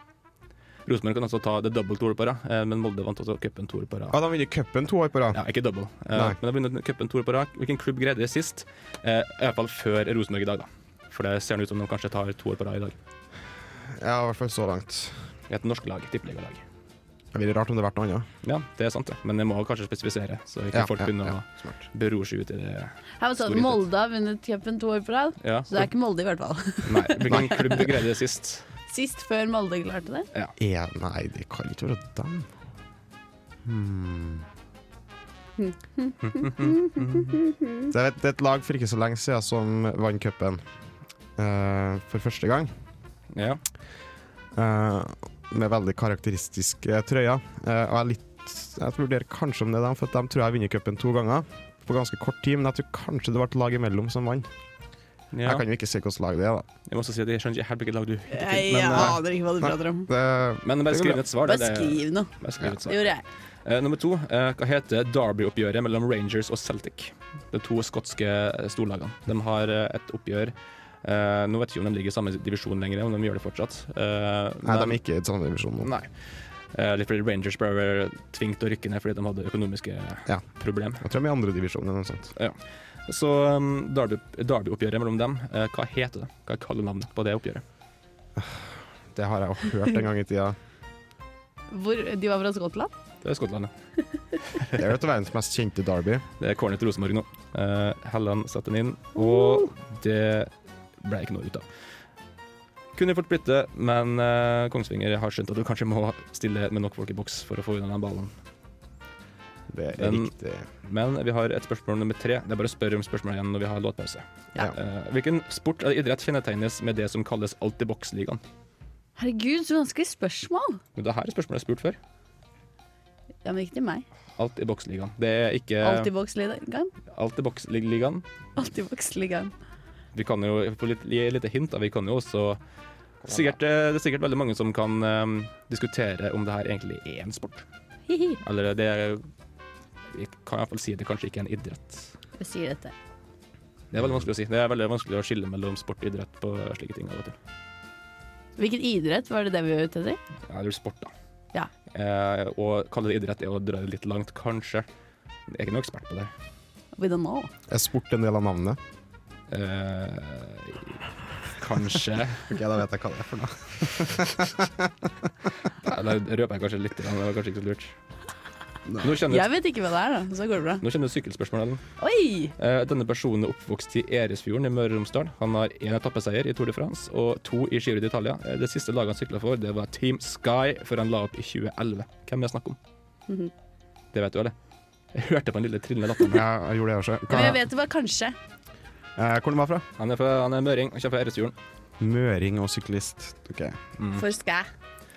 Speaker 3: Rosenborg kan altså ta det dobbelt to år på rad, eh, men Molde vant også cupen to år på rad.
Speaker 4: Ja, de vinner cupen to år på rad.
Speaker 3: Ja, ikke double. Eh,
Speaker 4: Nei.
Speaker 3: men de har vunnet cupen to år på rad. Hvilken klubb greide det sist? Eh, I hvert fall før Rosenborg i dag, da. For det ser ut som de kanskje tar to år på rad i dag.
Speaker 4: Ja, i hvert fall så langt.
Speaker 3: Et norsk lag, tippeligalag.
Speaker 4: Det ville vært rart om det hadde vært noe annet.
Speaker 3: Ja, det er sant, det. Men jeg må kanskje spesifisere, så ikke
Speaker 4: Ja,
Speaker 3: folk
Speaker 4: ja,
Speaker 3: begynner
Speaker 4: ja,
Speaker 3: å bero seg ut i det.
Speaker 12: Her var det sånn,
Speaker 3: store
Speaker 12: Molde har vunnet cupen to år på rad,
Speaker 3: Ja.
Speaker 12: så det er ikke Molde i hvert fall. *laughs*
Speaker 3: Nei, hvilken klubb greide det sist?
Speaker 4: *laughs*
Speaker 12: Sist før Molde klarte det.
Speaker 3: Ja.
Speaker 4: nei, det kan ikke være dem. Hmm. Det er, et- det er et lag for ikke så lenge siden som vant cupen eh, for første gang.
Speaker 3: Ja.
Speaker 4: Eh, med veldig karakteristiske trøyer. Eh, og jeg, er litt, jeg vurderer kanskje om det er dem, for at de tror jeg har vunnet cupen to ganger på ganske kort tid. Men jeg tror kanskje det var et lag imellom som vant.
Speaker 3: Ja.
Speaker 4: Jeg kan jo ikke se hvilket lag det er, da.
Speaker 3: Jeg må også si at jeg skjønner ikke helt hvilket lag du
Speaker 12: Jeg aner ikke hva du prater om.
Speaker 3: eh, Men bare skriv ned et svar. det er
Speaker 12: Bare
Speaker 3: det-
Speaker 12: skriv noe.
Speaker 3: Bare skriv et
Speaker 12: Det
Speaker 3: svar.
Speaker 12: gjorde jeg.
Speaker 3: Eh, nummer to. Eh, hva heter Derby-oppgjøret mellom Rangers og Celtic? De to skotske eh, storlagene. De har eh, et oppgjør eh, Nå vet jeg ikke om de ligger i samme divisjon lenger, om de gjør det fortsatt. Eh,
Speaker 4: Nei, de
Speaker 3: men-
Speaker 4: er ikke i samme divisjon nå.
Speaker 3: Nei. Eh, litt fordi Rangers ble vel tvunget til å rykke ned fordi de hadde økonomiske
Speaker 4: Ja.
Speaker 3: problemer.
Speaker 4: Jeg tror de er i andre divisjon eller noe sånt.
Speaker 3: Ja. Så um, derby- Derby-oppgjøret mellom dem, eh, hva heter det? Hva er kallenavnet på det oppgjøret?
Speaker 4: Det har jeg jo hørt en gang i tida.
Speaker 12: Hvor, de var fra Skottland?
Speaker 3: Det er Skottland, ja.
Speaker 4: Det er jo et av verdens mest kjente derby.
Speaker 3: Det er corner til Rosenborg nå. Eh, Helland setter den inn, og det ble ikke noe ut av. Kunne fort blitt det, men eh, Kongsvinger har skjønt at du kanskje må stille med nok folk i boks for å få unna den ballen.
Speaker 4: Det er riktig.
Speaker 3: Men vi har et spørsmål nummer tre. Det er bare å spørre om spørsmålet igjen når vi har låtpause.
Speaker 4: Ja.
Speaker 3: Eh, hvilken sport eller idrett kjennetegnes med det som kalles alt i boks-ligaen?
Speaker 12: Herregud, så vanskelig spørsmål!
Speaker 3: Men Det her er spørsmålet jeg har spurt før.
Speaker 12: Ja, men ikke til meg.
Speaker 3: Alt i boks-ligaen. Det er ikke
Speaker 12: Alt i boksligaen.
Speaker 3: Alt i boks-ligaen.
Speaker 12: Alt i boksligaen.
Speaker 3: Vi kan jo få litt, gi et lite hint. Da. Vi kan jo også sikkert, eh, Det er sikkert veldig mange som kan eh, diskutere om det her egentlig er en sport.
Speaker 12: Hihi.
Speaker 3: Eller det er- Vi kan iallfall si det kanskje ikke er en idrett.
Speaker 12: Jeg sier dette.
Speaker 3: Det er veldig vanskelig å si. Det er veldig vanskelig å skille mellom sport og idrett på slike ting. av og til.
Speaker 12: Hvilken idrett var det det vi var ute etter?
Speaker 3: Ja, det er jo sport, da.
Speaker 12: Ja.
Speaker 3: Eh, og kalle det idrett er å dra det litt langt, kanskje. Jeg er ikke noen ekspert på det.
Speaker 12: We don't know.
Speaker 4: Er sport en del av navnet?
Speaker 3: Eh, kanskje.
Speaker 4: ok, da vet jeg hva det er for noe.
Speaker 3: Nei, Da røper jeg kanskje litt, men det var kanskje ikke så lurt. Nå
Speaker 12: Jeg
Speaker 3: kjenner
Speaker 12: vet ikke hva det er, da. Så går det bra.
Speaker 3: nå kjenner du sykkelspørsmålet. Ellen.
Speaker 12: Oi!
Speaker 3: Eh, Denne personen er oppvokst i Eresfjorden i Møre og Romsdal. Han har én etappeseier i Tour de France og to i Giro d'Italia. Eh, Det siste laget han sykla for, det var Team Sky, før han la opp i 2011. Hvem er det snakk om?
Speaker 12: Mhm.
Speaker 3: Det vet du, eller? Jeg hørte på den lille trillende latteren.
Speaker 4: Ja, jeg gjorde det også.
Speaker 12: Men jeg vet det var kanskje.
Speaker 4: Eh, hvor den var fra?
Speaker 3: Han er, fra, han er møring, han kommer fra Eresfjorden.
Speaker 4: Møring og syklist. Ok.
Speaker 3: Mm.
Speaker 12: For skæ.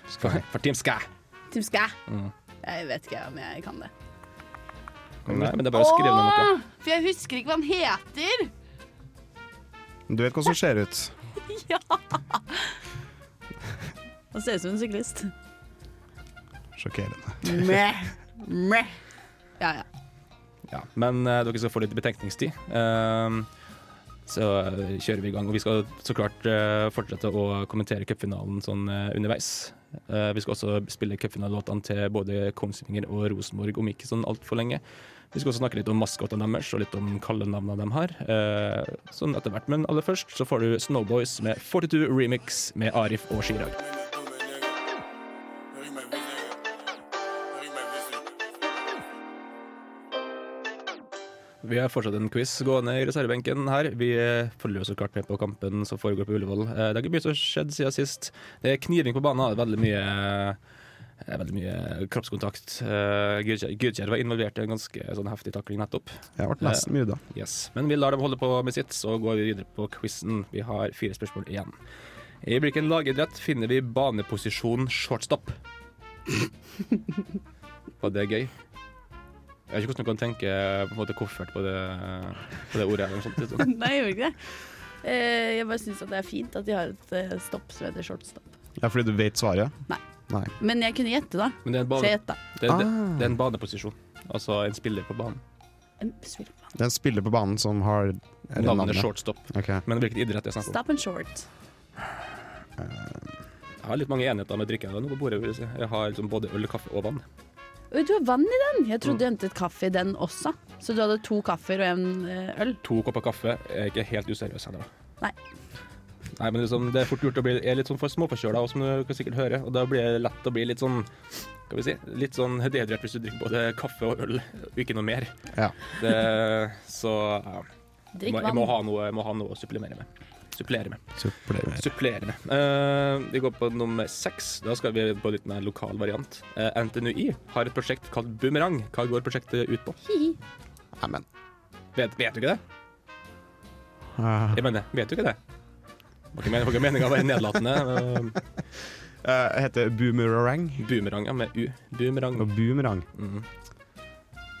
Speaker 3: Sky. For Team Sky.
Speaker 12: Team skæ.
Speaker 3: Mm.
Speaker 12: Jeg vet ikke om jeg kan det.
Speaker 3: Nei, men det er bare å skrive ned noe.
Speaker 12: Åh, For jeg husker ikke hva han heter!
Speaker 4: Du vet hva som ser ut.
Speaker 12: ja! Han ser ut som en syklist.
Speaker 4: Sjokkerende.
Speaker 12: Meh. Meh. Ja, ja.
Speaker 3: Ja, men eh, dere skal få litt betenkningstid. Ehm, så eh, kjører vi i gang. Og vi skal så klart eh, fortsette å kommentere cupfinalen sånn eh, underveis. Eh, vi skal også spille cupfinalelåtene til både Kongsvinger og Rosenborg om ikke sånn altfor lenge. Vi skal også snakke litt om maskotene deres og litt om kallenavnene de har. eh, sånn etter hvert. Men aller først så får du Snowboys med 42 Remix med Arif og Chirag. Vi har fortsatt en quiz gående i reservebenken her. Vi eh, følger jo så klart med på kampen som foregår på Ullevål. Eh, Det har ikke mye som har skjedd siden sist. Det er kniving på banen, veldig mye eh, Veldig mye kroppskontakt. Eh, Gudkjær Gudkjær var involvert i en ganske sånn heftig takling nettopp.
Speaker 4: Jeg ble nesten
Speaker 3: Eh,
Speaker 4: mye da.
Speaker 3: Yes. Men vi lar dem holde på med sitt, så går vi videre på quizen. Vi har fire spørsmål igjen. I hvilken lagidrett finner vi baneposisjonen shortstop? Var det gøy? Jeg vet ikke hvordan du kan tenke eh, på en måte koffert på det, på det ordet. eller noe sånt. liksom.
Speaker 12: Nei, jeg gjorde ikke det. Eh, Jeg bare syns det er fint at de har et eh, stopp som heter shortstop.
Speaker 4: Ja, fordi du vet svaret?
Speaker 12: Nei.
Speaker 4: Nei.
Speaker 12: Men jeg kunne gjette, da.
Speaker 3: Men det er en,
Speaker 12: Så jeg
Speaker 3: bane,
Speaker 12: gjetta.
Speaker 3: det, er- det,
Speaker 4: Ah.
Speaker 3: det er en baneposisjon. Altså en spiller på banen.
Speaker 12: En spiller på
Speaker 4: Det er en spiller på banen som har eller
Speaker 3: Navnet er shortstop.
Speaker 4: Ok.
Speaker 3: Men hvilken idrett er det snakk om?
Speaker 12: Stop and short.
Speaker 3: Jeg har litt mange enheter med drikke her nå på bordet. vil Jeg si. Jeg har liksom både øl, kaffe og vann.
Speaker 12: Oi, du har vann i den! Jeg trodde du
Speaker 3: Mm.
Speaker 12: hentet kaffe i den også. Så du hadde to kaffer og en eh, øl?
Speaker 3: To kopper kaffe er ikke helt useriøs heller. da.
Speaker 12: Nei.
Speaker 3: Nei, men liksom, det er fort gjort å bli jeg er litt sånn for småforkjøla, og som du kan sikkert høre. Og da blir det lett å bli litt sånn skal vi si, litt sånn dehydrert hvis du drikker både kaffe og øl, og ikke noe mer.
Speaker 4: Ja.
Speaker 3: Det, så ja.
Speaker 12: Drikk
Speaker 3: Jeg må- jeg må,
Speaker 12: vann.
Speaker 3: ha noe, jeg må ha noe å supplere med. Supplere med.
Speaker 4: Supplere.
Speaker 3: Supplere med. Eh, vi går på nummer seks. Da skal vi på litt mer lokal variant. Eh, NTNUI har et prosjekt kalt Bumerang. Hva går prosjektet ut på?
Speaker 12: Hihi.
Speaker 4: Neimen.
Speaker 3: Vet, vet du ikke det?
Speaker 4: Ah.
Speaker 3: Jeg mener, vet du ikke det? Var ikke men- var ikke meningen å være nedlatende.
Speaker 4: Eh, heter Boomerang.
Speaker 3: Boomerang, ja, med U. Boomerang.
Speaker 4: Og Boomerang.
Speaker 3: Mhm.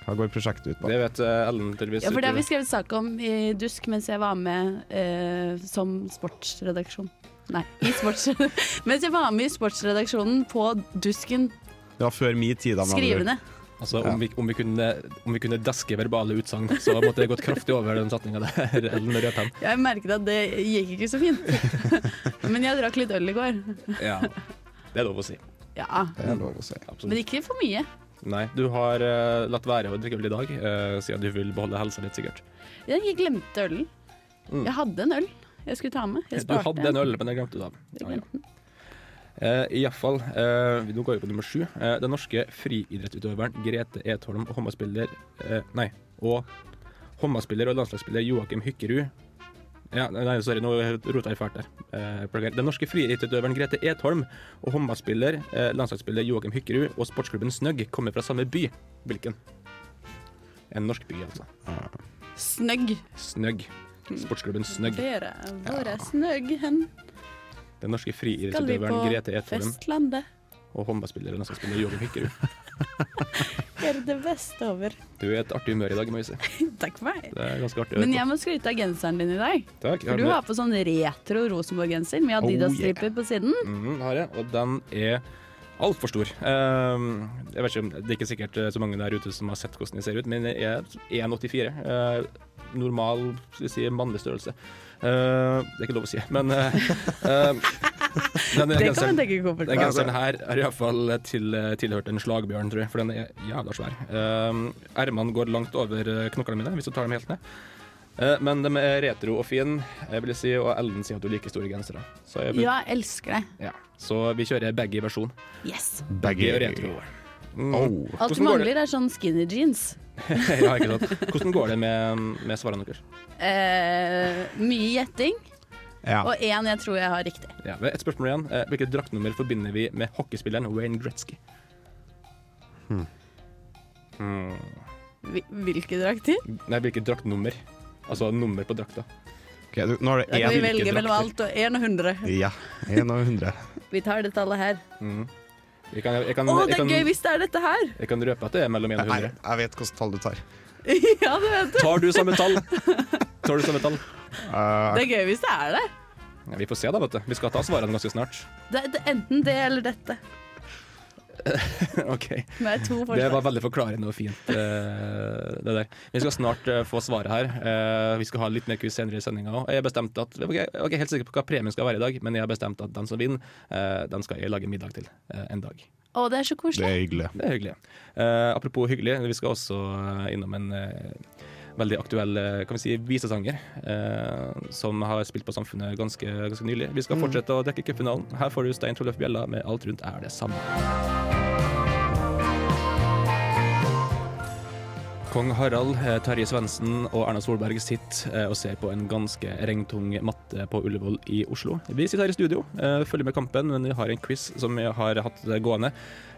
Speaker 4: Hva går prosjektet ut på?
Speaker 3: Det vet eh, Ellen tydeligvis.
Speaker 12: Ja, for det har vi
Speaker 3: ikke.
Speaker 12: skrevet sak om i Dusk mens jeg var med eh, som sportsredaksjon. Nei, i sports... *laughs* mens jeg var med i sportsredaksjonen på Dusken
Speaker 4: Det var før min tid. da, med andre ord.
Speaker 12: skrivende.
Speaker 3: Altså, om, vi, om, vi kunne, om vi kunne deske verbale utsagn, så måtte jeg gått kraftig over den setninga der. *laughs* Ellen med rød penn.
Speaker 12: Jeg merket at det gikk ikke så fint.
Speaker 3: *laughs*
Speaker 12: Men jeg drakk litt øl i går.
Speaker 3: Ja. Det er lov å si.
Speaker 12: Ja,
Speaker 4: Det er lov å si.
Speaker 12: men ikke for mye.
Speaker 3: Nei, du har eh, latt være å drikke øl i dag, eh, siden du vil beholde helsa litt, sikkert.
Speaker 12: Jeg glemte ølen.
Speaker 3: Mm.
Speaker 12: Jeg hadde en øl jeg skulle ta med. Jeg
Speaker 3: Du
Speaker 12: sparte
Speaker 3: hadde en øl, men det glemte du av. Ja, ja. Eh, Iallfall. Eh, nå går vi på nummer sju. Eh, den norske friidrettsutøveren Grete Etholm og håndballspiller eh, Nei, og håndballspiller og landslagsspiller Joakim Hykkerud Ja, nei, sorry, nå rota jeg fælt der. Eh, beklager. Den norske friidrettsutøveren Grete Etholm og håndballspiller, eh, landslagsspiller Joakim Hykkerud og sportsklubben Snøgg kommer fra samme by. Hvilken? En norsk by, altså.
Speaker 12: Snøgg.
Speaker 3: Snøgg. Sportsklubben Snøgg.
Speaker 12: Dere våre snøgg hen.
Speaker 3: Den norske
Speaker 12: Skal vi på
Speaker 3: friidrettsutøveren Grete Etholm
Speaker 12: Vestlandet?
Speaker 3: og håndballspiller og landslagsspiller Joakim Hykkerud.
Speaker 12: Gjøre det beste over. *laughs*
Speaker 3: Du er i et artig humør i dag, må jeg si.
Speaker 12: Takk for meg.
Speaker 3: Det er ganske artig. å
Speaker 12: Men
Speaker 3: høre
Speaker 12: jeg må skryte av genseren din i dag.
Speaker 3: på. Takk.
Speaker 12: For du har på sånn retro Rosenborg-genser med
Speaker 3: Oh, yeah.
Speaker 12: Adidas-striper på siden.
Speaker 3: Mm, har jeg, og den er altfor stor. Ehm, jeg vet ikke om, Det er ikke sikkert eh, så mange der ute som har sett hvordan jeg ser ut, men jeg er 1,84. Eh, normal skal vi si, mannlig størrelse. Eh, det er ikke lov å si, men
Speaker 12: *laughs*
Speaker 3: eh, eh, denne
Speaker 12: Det kan
Speaker 3: genseren-
Speaker 12: man tenke på.
Speaker 3: Den genseren her er iallfall eh, til, tilhørt en slagbjørn, tror jeg, for den er jævla svær. Ehm, Ermene går langt over eh, knoklene mine, hvis du tar dem helt ned. Eh, Men de er retro og fine, jeg vil si, og Ellen sier at du liker store gensere. Så jeg
Speaker 12: Ja, jeg elsker det.
Speaker 3: ja. Så vi kjører baggy versjon.
Speaker 12: Yes.
Speaker 3: Baggy og retro. Mm.
Speaker 4: Oh,
Speaker 12: Alt du
Speaker 3: Hvordan går det?
Speaker 12: mangler er sånn skinny jeans.
Speaker 3: *laughs* ja, ikke sant. Hvordan går det med, med svarene deres?
Speaker 12: Eh, mye gjetting.
Speaker 3: Ja.
Speaker 12: Og én jeg tror jeg har riktig.
Speaker 3: Ja, men et spørsmål igjen. Eh, Hvilket draktnummer forbinder vi med hockeyspilleren Wayne Gretzky? Hmm.
Speaker 12: Hvil- Hvilke drakter?
Speaker 3: Nei, hvilket draktnummer? Altså nummer på drakta.
Speaker 4: nå er
Speaker 12: Da kan vi velge mellom alt og 1 og 100.
Speaker 4: Ja. Én av hundre.
Speaker 12: Vi tar det tallet her.
Speaker 3: Mm. Jeg kan, jeg
Speaker 12: Å,
Speaker 3: kan,
Speaker 12: det
Speaker 3: Mm, jeg
Speaker 12: er
Speaker 3: kan,
Speaker 12: gøy hvis det er dette her! *laughs*
Speaker 3: jeg kan røpe at det er mellom 1 og 100.
Speaker 4: Jeg vet hvilket tall du tar.
Speaker 12: ja, det vet du.
Speaker 3: *laughs* Tar du samme tall? Tar du samme tall?
Speaker 12: Det er gøy hvis det er det.
Speaker 3: Ja, vi får se, da, vet du. Vi skal ta svarene ganske snart.
Speaker 12: det, er- det er enten det eller dette.
Speaker 3: *laughs* OK.
Speaker 12: Men jeg har to
Speaker 3: Det var
Speaker 12: forslag.
Speaker 3: veldig forklarende og fint, eh, det der. Vi skal snart eh, få svaret her. Eh, vi skal ha litt mer quiz senere i sendinga òg. Jeg bestemte at jeg var ikke- jeg var ikke helt sikker på hva premien skal være i dag, men jeg har bestemt at den som vinner, eh, den skal jeg lage middag til eh, en dag.
Speaker 12: Å, det er så koselig.
Speaker 4: hyggelig.
Speaker 3: Det er hyggelig. Eh, apropos hyggelig, vi skal også eh, innom en eh, veldig aktuell eh, kan vi si, visesanger eh, som har spilt på Samfunnet ganske, ganske nylig. Vi skal
Speaker 4: Mm.
Speaker 3: fortsette å dekke cupfinalen. Her får du Stein Tollef Bjella med 'Alt rundt er det samme'. Kong Harald, eh, Terje Svendsen og Erna Solberg sitter eh, og ser på en ganske regntung matte på Ullevål i Oslo. Vi sitter her i studio, eh, følger med kampen, men vi har en quiz som vi har hatt det gående.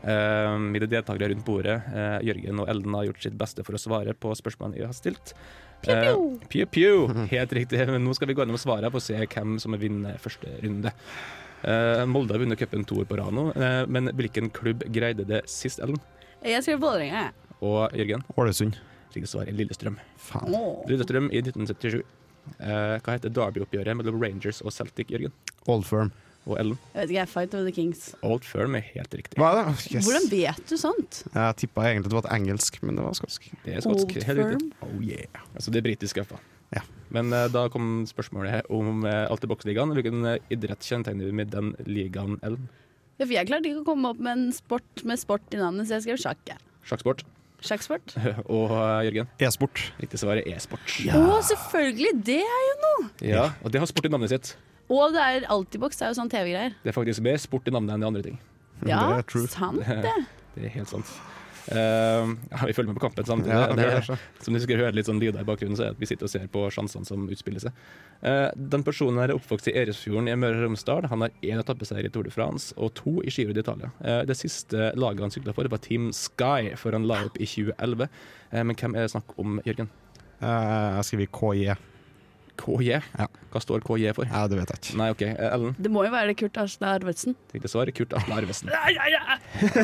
Speaker 3: Eh, Mine deltakere rundt bordet, eh, Jørgen og Elden, har gjort sitt beste for å svare på spørsmålene jeg har stilt. Eh, Pew pew! Helt riktig. Men nå skal vi gå gjennom svarene for å se hvem som vinner første runde. Eh, Molde har vunnet cupen to år på rad nå, eh, men hvilken klubb greide det sist, Ellen?
Speaker 12: Jeg skriver Vålerenga, jeg.
Speaker 3: Og Jørgen?
Speaker 4: Ålesund.
Speaker 3: Riktig svar er Lillestrøm.
Speaker 12: Åh.
Speaker 3: Lillestrøm i 1977. Eh, hva heter Derby-oppgjøret mellom Rangers og Celtic, Jørgen?
Speaker 4: Old Firm.
Speaker 3: Og Ellen?
Speaker 12: Jeg vet ikke, jeg er Fight of the Kings.
Speaker 3: Old Firm er helt riktig.
Speaker 4: Hva er det? Yes.
Speaker 12: Hvordan vet du sånt?
Speaker 4: Jeg tippa egentlig at det var et engelsk, men det var skotsk.
Speaker 3: Det er skotsk.
Speaker 12: Old
Speaker 3: Helt riktig.
Speaker 12: Firm?
Speaker 4: Oh yeah.
Speaker 3: Altså det britiske, iallfall. Ja. Men eh, da kom spørsmålet her om uh, Altibox-ligaen. Hvilken eh, idrett kjennetegner vi med den ligaen, Ellen?
Speaker 12: Ja, for Jeg klarte ikke å komme opp med en sport med sport i navnet, så jeg skrev sjakk. jeg.
Speaker 3: Sjakksport. *laughs*
Speaker 12: Sjakksport.
Speaker 3: Og eh, Jørgen?
Speaker 4: E-sport.
Speaker 3: Riktig svar er e-sport.
Speaker 12: Å, selvfølgelig! Det er jo noe!
Speaker 3: Ja, og det har sport i navnet sitt.
Speaker 12: Og det er Altibox, det er jo sånn TV-greier.
Speaker 3: Det er faktisk mer sport i navnet enn de andre ting.
Speaker 12: Ja, Det er true. sant det.
Speaker 3: Det er helt sant. Ehm, ja, vi følger med på kampen samtidig.
Speaker 4: Ja, det
Speaker 3: det,
Speaker 4: gjør det,
Speaker 3: som du skal høre litt sånn lyder i bakgrunnen, så er det at vi sitter og ser på sjansene som utspiller seg. Eh, den personen her er oppvokst i Eresfjorden i Møre og Romsdal. Han har én etappeseier i Tour de France og to i Giro d'Italia. Eh, det siste laget han sykla for, var Team Sky, før han la opp i 2011. Eh, men hvem er det snakk om, Jørgen?
Speaker 4: Eh, jeg skriver KJ.
Speaker 3: KJ? Hva står KJ for?
Speaker 4: Ja, Det vet jeg ikke.
Speaker 3: Nei, OK. Eh, Ellen?
Speaker 12: Det må jo være det Kurt Asle Arvedsen.
Speaker 3: Riktig svar er Kurt Atle Arvesen.
Speaker 12: Nei, nei,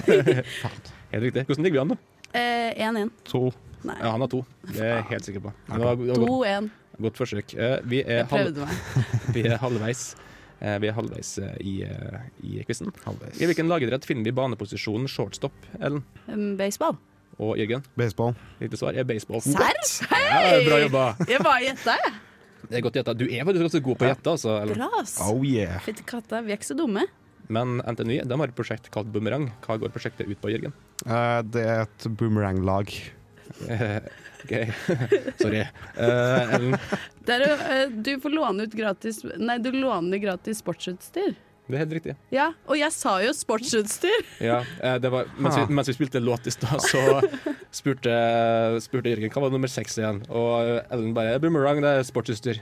Speaker 12: nei.
Speaker 3: Helt riktig. Hvordan ligger vi an, da?
Speaker 12: Eh, 1-1.
Speaker 3: To. Ja, han har to. Det er jeg helt sikker på. Men det var- det var godt-
Speaker 12: 2-1.
Speaker 3: Godt forsøk. Eh, Vi er,
Speaker 12: Jeg prøvde
Speaker 3: vi er halvveis. Eh, Vi er halvveis eh, i, eh, i quizen. I hvilken lagidrett finner vi baneposisjonen shortstop, Ellen
Speaker 12: Um, Baseball.
Speaker 3: og Jørgen?
Speaker 4: Baseball.
Speaker 3: Riktig svar er baseball.
Speaker 12: Serr?
Speaker 3: Ja, bra jobba.
Speaker 12: Jeg bare gjetta, jeg.
Speaker 3: Det er godt gjetta. Du er faktisk ganske god på å gjette, altså. Ellen.
Speaker 12: Bra, ass.
Speaker 4: Oh,
Speaker 12: Fytti katta, vi er ikke så dumme.
Speaker 3: Men NTNU de har et prosjekt kalt Bumerang. Hva går prosjektet ut på, Jørgen?
Speaker 4: Eh, det er et boomerang-lag.
Speaker 3: OK, *laughs* sorry. Eh, Ellen,
Speaker 12: Det er, jo, eh, du får låne ut gratis Nei, du låner gratis sportsutstyr.
Speaker 3: Det er helt riktig.
Speaker 12: Ja, og jeg sa jo sportsutstyr.
Speaker 3: Ja, eh, det var, mens,
Speaker 12: Ha.
Speaker 3: vi, mens vi spilte låt i stad,
Speaker 12: *laughs*
Speaker 3: så spurte, spurte Jørgen hva var nummer seks igjen. Og eh, Ellen bare 'Boomerang, det er sportsutstyr'.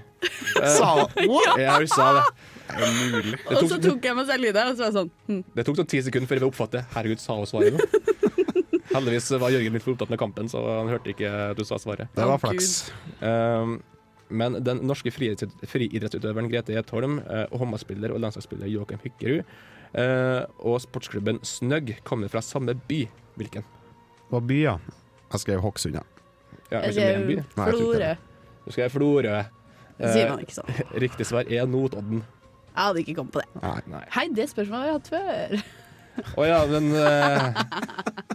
Speaker 3: Eh,
Speaker 12: *laughs* Sa hun? What?
Speaker 3: Ja, hun sa det. Det er mulig. Det
Speaker 12: Og så
Speaker 3: tok, det,
Speaker 12: tok jeg meg selv i det, og så var jeg sånn hm.
Speaker 3: det tok sånn ti sekunder før vi oppfattet det. Herregud, sa hun
Speaker 12: *laughs*
Speaker 3: svaret nå? Heldigvis var Jørgen litt for opptatt med kampen, så han hørte ikke at du sa svaret.
Speaker 4: Det var Å, flaks.
Speaker 3: Um, men den norske friidretts- friidrettsutøveren Grete Gjeth Holm, eh, og håndballspiller og landslagsspiller Joakim Hykkerud, eh, og sportsklubben Snøgg kommer fra samme by. Hvilken?
Speaker 4: Det var by, ja. Jeg skrev Hokksund, ja. Jeg
Speaker 3: Ja, hvilken er en
Speaker 4: skrev
Speaker 3: by?
Speaker 4: Nei, jeg tror ikke det.
Speaker 3: Du skrev Florø.
Speaker 12: Det sier man ikke sånn.
Speaker 3: Eh, Riktig svar er Notodden.
Speaker 12: Jeg hadde ikke kommet på det.
Speaker 3: Nei, nei.
Speaker 12: Hei, det spørsmålet har jeg hatt før.
Speaker 3: Å ja, men eh,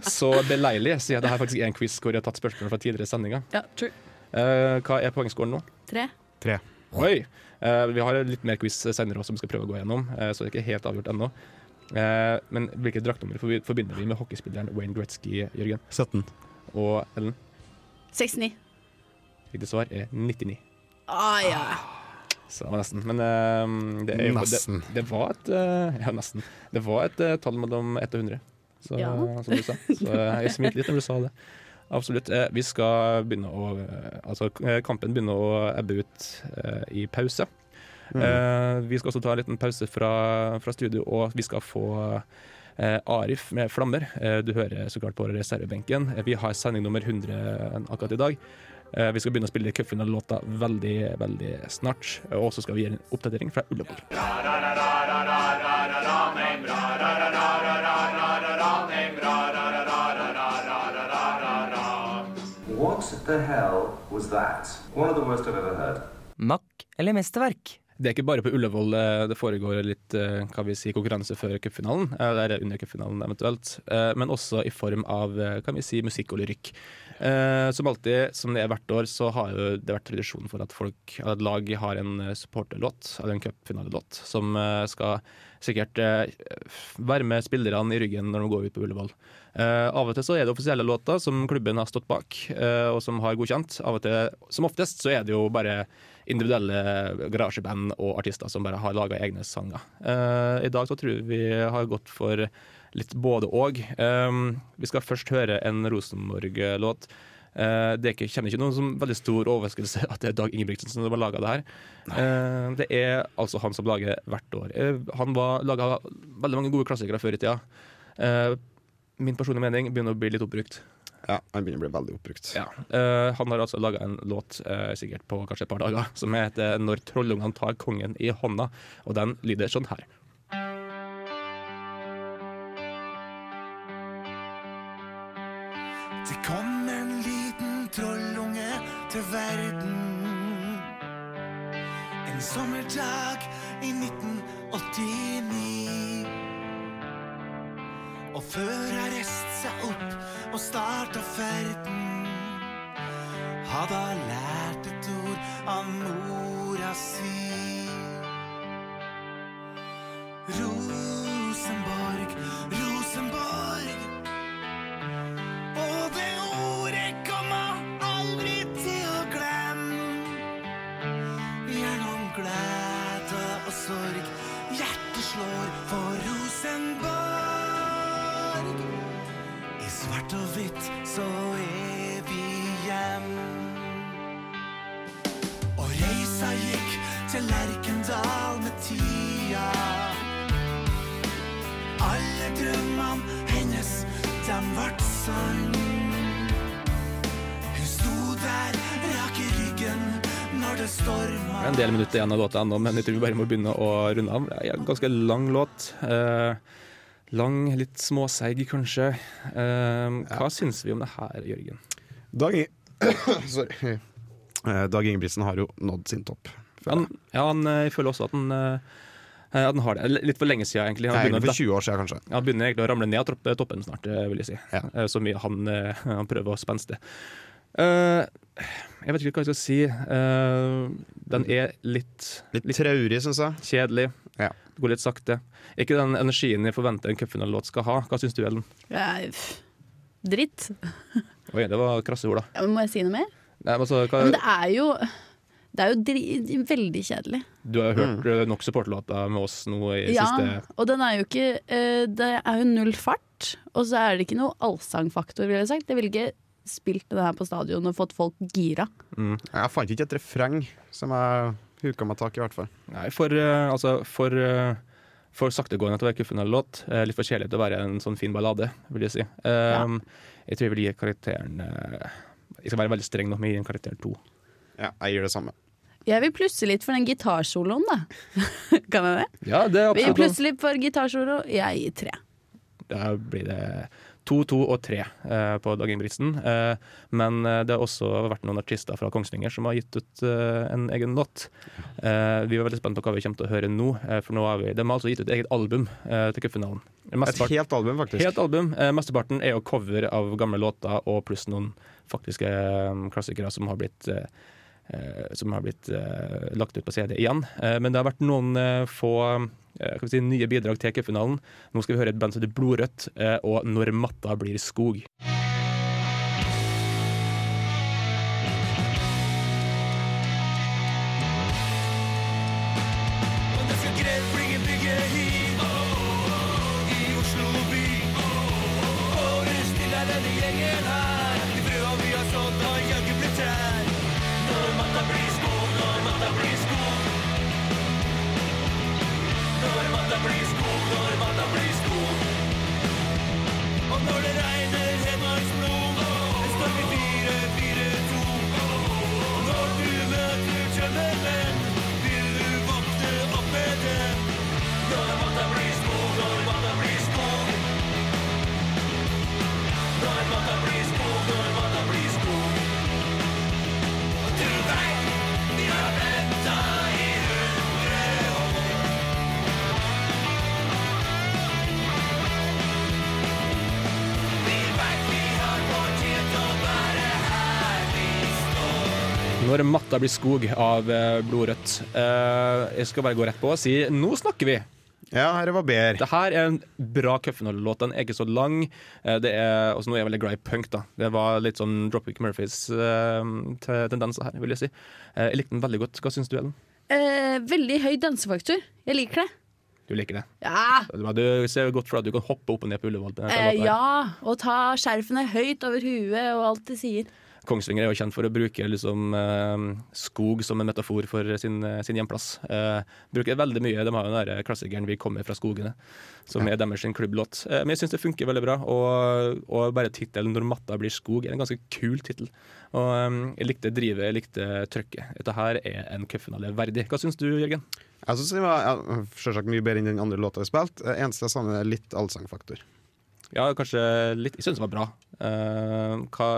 Speaker 3: Så beleilig, siden det her faktisk er en quiz hvor jeg har tatt spørsmål fra tidligere sendinger.
Speaker 12: Ja, true.
Speaker 3: Eh, hva er poengskåren nå?
Speaker 12: Tre.
Speaker 4: Tre.
Speaker 3: Oi! Eh, vi har litt mer quiz senere også, som vi skal prøve å gå gjennom, eh, så det er ikke helt avgjort ennå. Eh, men hvilket draktnummer forbi- forbinder vi med hockeyspilleren Wayne Gretzky, Jørgen?
Speaker 4: 17.
Speaker 3: Og Ellen?
Speaker 12: 69.
Speaker 3: Riktig svar er 99.
Speaker 12: Ah, ja.
Speaker 3: Så det var nesten. Men eh, det, er jo,
Speaker 4: Nesten.
Speaker 3: Det, det var et eh, Ja, nesten. Det var et eh, tall mellom 1 og 100, så,
Speaker 12: Ja.
Speaker 3: som du sa. Så eh, jeg smilte litt når du sa det. Absolutt. Eh, vi skal begynne å eh, Altså, k- eh, kampen begynner å ebbe ut eh, i pause.
Speaker 13: Mm.
Speaker 3: Eh, vi skal også ta en liten pause fra, fra studio, og vi skal få eh, Arif med flammer. Eh, du hører så klart på reservebenken. Eh, vi har sending nummer 100 akkurat i dag. Eh, vi skal begynne å spille cupfinalelåta veldig, veldig snart. Og så skal vi gi en oppdatering fra Ullevål.
Speaker 19: What the hell was that? One of the worst I've ever heard.
Speaker 3: Makk eller mesterverk? Det er ikke bare på Ullevål eh, det foregår litt eh, kan vi si, konkurranse før cupfinalen, eh, eller under cupfinalen eventuelt, eh, men også i form av eh, kan vi si, musikk og lyrikk. Eh, Som alltid, som det er hvert år, så har jo det vært tradisjon for at folk, at lag har en eh, supporterlåt, eller en cupfinalelåt, som eh, skal sikkert eh, være med spillerne i ryggen når de går ut på Ullevål. Eh, Av og til så er det offisielle låter som klubben har stått bak, eh, og som har godkjent. Av og til, som oftest, så er det jo bare individuelle garasjeband og artister som bare har laga egne sanger. Eh, I dag så tror jeg vi har gått for litt både og. Eh, vi skal først høre en Rosenborg-låt. Eh, det er ikke, kjenner ikke noen som veldig stor overraskelse at det er Dag Ingebrigtsen som har laga det her. Eh, det er altså han som lager hvert år. Eh, han laga veldig mange gode klassikere før i tida. Eh, min personlige mening begynner å bli litt oppbrukt.
Speaker 4: Ja, han begynner å bli veldig oppbrukt.
Speaker 3: Ja. Eh, han har altså laga en låt eh, sikkert på kanskje et par dager som heter 'Når trollungene tar kongen i hånda', og den lyder sånn her.
Speaker 14: Det kom en liten trollunge til verden En sommerdag i 1989 Og før han rest seg opp og starta ferden Hadde han lært et ord av mora si Rosenborg, Rosenborg og det ordet kommer aldri til å glemme. Gjennom glede og sorg, hjertet slår for Rosenborg. I svart og hvitt så er vi hjem. Og reisa gikk til Lerkendal med tida. Alle drømmene hennes, dem vart sann. Hun sto der, rak i ryggen, når det storma.
Speaker 3: Det er en del minutter igjen av låta ennå, men jeg tror vi bare må begynne å runde av. Det er en ganske lang låt. Eh, lang, litt småseig kanskje. Eh, hva syns vi om det her, Jørgen?
Speaker 4: Dag, I- *coughs* Sorry. Eh, Dag Ingebrigtsen har jo nådd sin topp.
Speaker 3: Han, ja, han, eh, jeg føler også at han, eh, at han har det. Litt for lenge siden, egentlig. Han
Speaker 4: Nei,
Speaker 3: begynner å
Speaker 4: egentlig
Speaker 3: dette-
Speaker 4: for 20 år siden, kanskje.
Speaker 3: Han begynner egentlig å ramle ned av tropp- toppen snart, eh, vil jeg si. Eh, Så mye han, eh, han prøver å spenste. Eh, jeg vet ikke hva jeg skal si. Eh, den er litt
Speaker 4: Mm. Litt, traurig, syns jeg.
Speaker 3: Kjedelig. Det går litt sakte. Ikke den energien jeg forventer en cupfinalelåt skal ha. Hva syns du, Ellen?
Speaker 12: Eh, pff. Dritt.
Speaker 3: Oi, det var krasse ord, da.
Speaker 12: Ja, men må jeg si noe mer?
Speaker 3: Nei, men altså, hva,
Speaker 12: Men det er jo Det er jo dri veldig kjedelig.
Speaker 3: Du har jo hørt mm. nok supporterlåter med oss nå i
Speaker 12: Ja,
Speaker 3: siste
Speaker 12: og den er jo ikke eh, Det er jo null fart, og så er det ikke noe allsangfaktor, ville jeg sagt. Jeg ville ikke spilt den her på stadion og fått folk gira.
Speaker 4: Mm. Jeg fant ikke et refreng som jeg huka meg tak i, i hvert fall.
Speaker 3: Nei, for, eh, altså, for, eh, for saktegående til å være cuffen-låt. eh, Litt for kjedelig til å være en sånn fin ballade, vil jeg si. Um, Jeg tror jeg vil gi karakteren eh, Jeg skal være veldig streng nå, men jeg gir en karakter to.
Speaker 4: Ja, jeg gir det samme.
Speaker 12: Jeg vil plusse litt for den gitarsoloen, da. *laughs* kan jeg det?
Speaker 3: Ja, det er
Speaker 12: Vi
Speaker 3: absolutt
Speaker 12: plusser litt for gitarsolo, jeg gir tre.
Speaker 3: Da blir det to, to og tre eh, på Dag Ingebrigtsen. Eh, men eh, det har også vært noen artister fra Kongsvinger som har gitt ut eh, en egen låt. Eh, vi var veldig spent på hva vi kommer til å høre nå, eh, for nå har vi, de har altså gitt ut et eget album eh, til cupfinalen. Mestepart-
Speaker 4: Et helt album, faktisk.
Speaker 3: Helt album. Eh, mesteparten er jo cover av gamle låter, og pluss noen faktiske eh, klassikere som har blitt eh, eh, som har blitt eh, lagt ut på CD igjen. Eh, men det har vært noen eh, få eh, skal vi si, nye bidrag til cupfinalen. Nå skal vi høre et band som heter Blodrødt, eh, og 'Når matta blir skog'.
Speaker 14: Og det skal Grevlingen bygge hit I Oslo by Og rust til er denne gjengen her De brøda vi har sådd har jaggu blitt trær Når matta blir skog, når matta blir skog Når matta blir skog, når matta blir skog Og når det regner Hedmarksblod En storm i fire, fire, to Og når du møter tømmermenn Vil du våkne opp med dem Når matta blir skog, når matta blir skog Når matta blir skog, når matta blir skog Og du veit, vi har venta i hundre år Vi veit vi har fortjent å være her vi står
Speaker 3: 'Når matta blir skog' av eh, Blodrødt. Eh, jeg skal bare gå rett på og si 'nå snakker vi'.
Speaker 4: Ja, her var bedre.
Speaker 3: Det her er en bra cupfinalelåt. Den er ikke så lang. Eh, Det er, også nå er jeg veldig glad i punk, da. Det var litt sånn Dropkick Murphys eh, te- tendenser her, vil jeg si. Eh, jeg likte den veldig godt. Hva syns du, Ellen?
Speaker 12: Eh, veldig høy dansefaktor. Jeg liker det.
Speaker 3: Du liker det?
Speaker 12: Ja!
Speaker 3: Men Du ser jo godt for deg at du kan hoppe opp og ned på Ullevål. til denne
Speaker 12: Eh,
Speaker 3: låta her.
Speaker 12: ja, og ta skjerfene høyt over huet og alt de sier.
Speaker 3: Kongsvinger er jo kjent for å bruke liksom, eh, skog som en metafor for sin, sin hjemplass. Eh, bruker veldig mye, De har jo den der klassikeren 'Vi kommer fra skogene', som er deres sin klubblåt. Eh, men jeg syns det funker veldig bra. Og, og bare tittelen 'Når matta blir skog' er en ganske kul tittel. Og eh, jeg likte drivet, jeg likte trøkket. Dette her er en cupfinale verdig. Hva syns du, Jørgen?
Speaker 4: Jeg syns den var ja, selvsagt mye bedre enn den andre låta vi spilte. Eh, Eneste jeg savner, er litt allsangfaktor.
Speaker 3: Ja, kanskje litt Jeg syns den var bra. Eh, hva,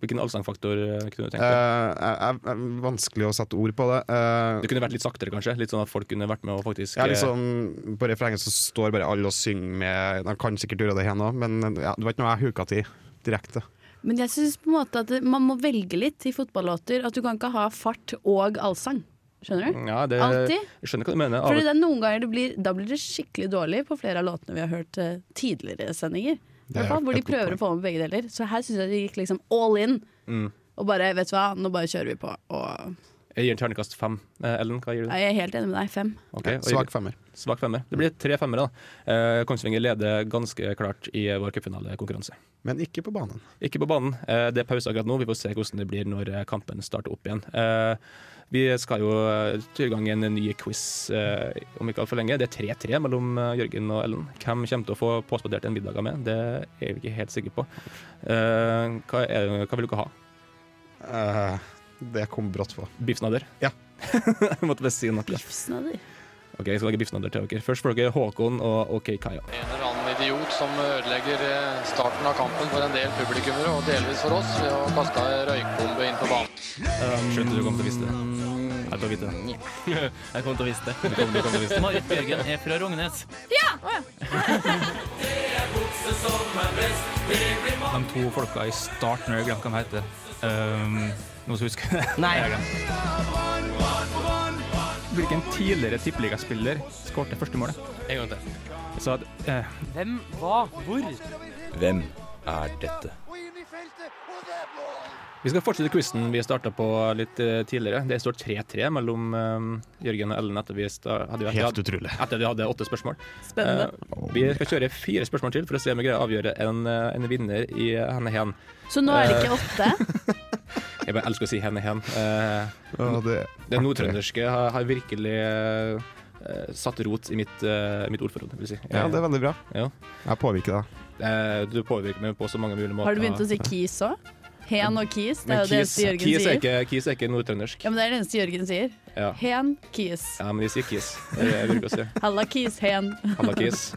Speaker 3: hvilken allsangfaktor kunne du tenkt
Speaker 4: Eh,
Speaker 3: deg?
Speaker 4: jeg- jeg- jeg- vanskelig å sette ord på det. Eh,
Speaker 3: Det kunne vært litt saktere, kanskje? Litt sånn at folk kunne vært med og faktisk
Speaker 4: ja,
Speaker 3: eh,
Speaker 4: liksom, på refrenget så står bare alle og synger med De kan sikkert gjøre det her nå, men ja, det var ikke noe jeg huka til direkte.
Speaker 12: Men jeg syns på en måte at det- man må velge litt i fotballåter. At du kan ikke ha fart og allsang. Skjønner du?
Speaker 3: Ja, Mm, det,
Speaker 12: Alltid.
Speaker 3: Jeg skjønner hva du mener. Av-
Speaker 12: Fordi det er noen ganger det blir, da blir det skikkelig dårlig på flere av låtene vi har hørt eh, tidligere sendinger. I
Speaker 3: Det er
Speaker 12: hvert fall, hvor de
Speaker 3: et godt
Speaker 12: prøver å få med begge deler. Så her syns jeg de gikk liksom all in.
Speaker 3: Mm.
Speaker 12: Og bare, vet du hva, nå bare kjører vi på. Og
Speaker 3: Jeg gir en terningkast fem. Eh, Ellen, hva gir du?
Speaker 12: Nei, jeg er helt enig med deg. Fem.
Speaker 3: Ok, og-
Speaker 4: Eh, Svak femmer.
Speaker 3: Svak femmer. Det blir tre femmere, da. Eh, Kongsvinger leder ganske klart i vår cupfinalekonkurranse.
Speaker 4: Men ikke på banen.
Speaker 3: Ikke på banen. Eh, Det er pause akkurat nå. Vi får se hvordan det blir når eh, kampen starter opp igjen. Eh, Vi skal jo eh, til i gang en ny quiz eh, om ikke altfor lenge. Det er 3-3 mellom eh, Jørgen og Ellen. Hvem kommer til å få påspandert en middag av meg? Det er vi ikke helt sikre på. Eh, Hva, er, hva vil dere ha?
Speaker 4: Eh, det kom brått på.
Speaker 3: Biffsnadder? *laughs*
Speaker 4: Ja.
Speaker 3: Måtte bare si noe.
Speaker 12: Biffsnadder?
Speaker 3: Ok, jeg skal lage biffsnadder til dere. Først får dere Håkon og OK Kaja.
Speaker 17: En eller annen idiot som ødelegger eh, starten av kampen for en del publikummere, og delvis for oss, ved å kaste ei røykbombe inn på banen. Um,
Speaker 9: Skjønte du kom til å vise det. Jeg kom til å vite det. Jeg kom til å vise det.
Speaker 17: mm, Du kom- du kom til å vise det.
Speaker 9: Marit Bjørgen er fra Rognes.
Speaker 14: Ja! Det er bukse som er best Det blir mat
Speaker 10: De to folka i starten, jeg glemte hva de heter. Um, noen som husker *laughs* det?
Speaker 6: Nei.
Speaker 10: Jeg glemte. Hvilken tidligere tippeligaspiller skåret første målet?
Speaker 9: En gang til.
Speaker 10: Så at, eh,
Speaker 7: Hvem, hva, hvor?
Speaker 18: Hvem er dette?
Speaker 3: Vi skal fortsette quizen vi starta på litt eh, tidligere. Det står 3-3 mellom eh, Jørgen og Ellen etter vi sta- hadde vi-
Speaker 4: Helt *laughs* utrolig.
Speaker 3: Etter vi hadde åtte spørsmål.
Speaker 5: Spennende.
Speaker 3: Eh, vi skal kjøre fire spørsmål til for å se om vi greier å avgjøre en, eh, en vinner i henne hen.
Speaker 5: Så nå er det
Speaker 3: Eh,
Speaker 5: ikke
Speaker 3: *laughs*
Speaker 5: åtte?
Speaker 3: Jeg bare elsker å si henne hen. Eh,
Speaker 4: Ja, det er
Speaker 3: det
Speaker 4: artig.
Speaker 3: nordtrønderske har, har virkelig eh, satt rot i mitt, eh, mitt ordforråd. Vil jeg si.
Speaker 4: Ja, det er veldig bra.
Speaker 3: Ja.
Speaker 4: Jeg påvirker deg.
Speaker 3: Eh, du påvirker meg på så mange mulige måter.
Speaker 5: Har du begynt å si Kis òg? Hen og Kis, det
Speaker 3: Men
Speaker 5: er jo det
Speaker 3: Kis,
Speaker 5: eneste Jørgen
Speaker 3: Kis er
Speaker 5: sier.
Speaker 3: ikke, Kis er ikke nordtrøndersk.
Speaker 5: Ja, men det er det eneste Jørgen sier.
Speaker 3: Ja.
Speaker 5: Hen, Kis.
Speaker 3: ja, men de sier Kis. Det er det jeg bruker å si.
Speaker 5: Halla, Kis, hen.
Speaker 3: Halla,
Speaker 4: *laughs*
Speaker 3: Kis.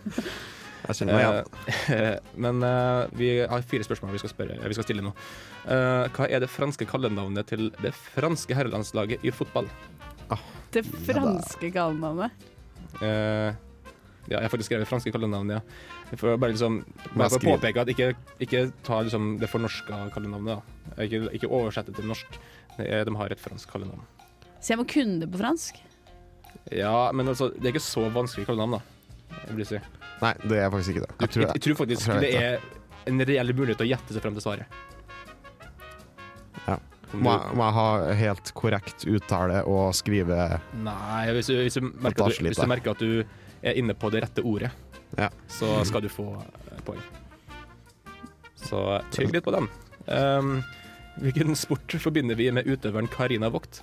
Speaker 4: Jeg kjenner meg
Speaker 3: Eh, men eh, vi har fire spørsmål vi skal, spørre, vi skal stille nå. Eh, hva er det franske kallenavnet til det franske herrelandslaget i fotball?
Speaker 5: Det franske kallenavnet.
Speaker 3: Eh, ja, jeg har faktisk skrevet franske kallenavn, ja. For å bare liksom
Speaker 4: Bare
Speaker 3: bare for å
Speaker 4: skriv.
Speaker 3: påpeke at ikke, ikke ta liksom det fornorska kallenavnet, da. Ikke, ikke oversett det til norsk. Det er- De har et fransk kallenavn.
Speaker 5: Så jeg må kunne det på fransk.
Speaker 3: Ja, men altså, det er ikke så vanskelig kallenavn, da. Jeg vil si.
Speaker 4: Nei, det er faktisk ikke det. Jeg
Speaker 3: jeg, jeg tror faktisk
Speaker 4: jeg
Speaker 3: det
Speaker 4: vet
Speaker 3: er en reell mulighet til å gjette seg frem til svaret.
Speaker 4: Ja. Må jeg, må jeg ha helt korrekt uttale og skrive
Speaker 3: Nei, hvis du, hvis du, merker, at du, hvis du merker at du er inne på det rette ordet,
Speaker 4: Ja. Mm.
Speaker 3: så skal du få eh, poeng. Så tygg litt på den. Um, hvilken sport forbinder vi med utøveren Karina Vogt?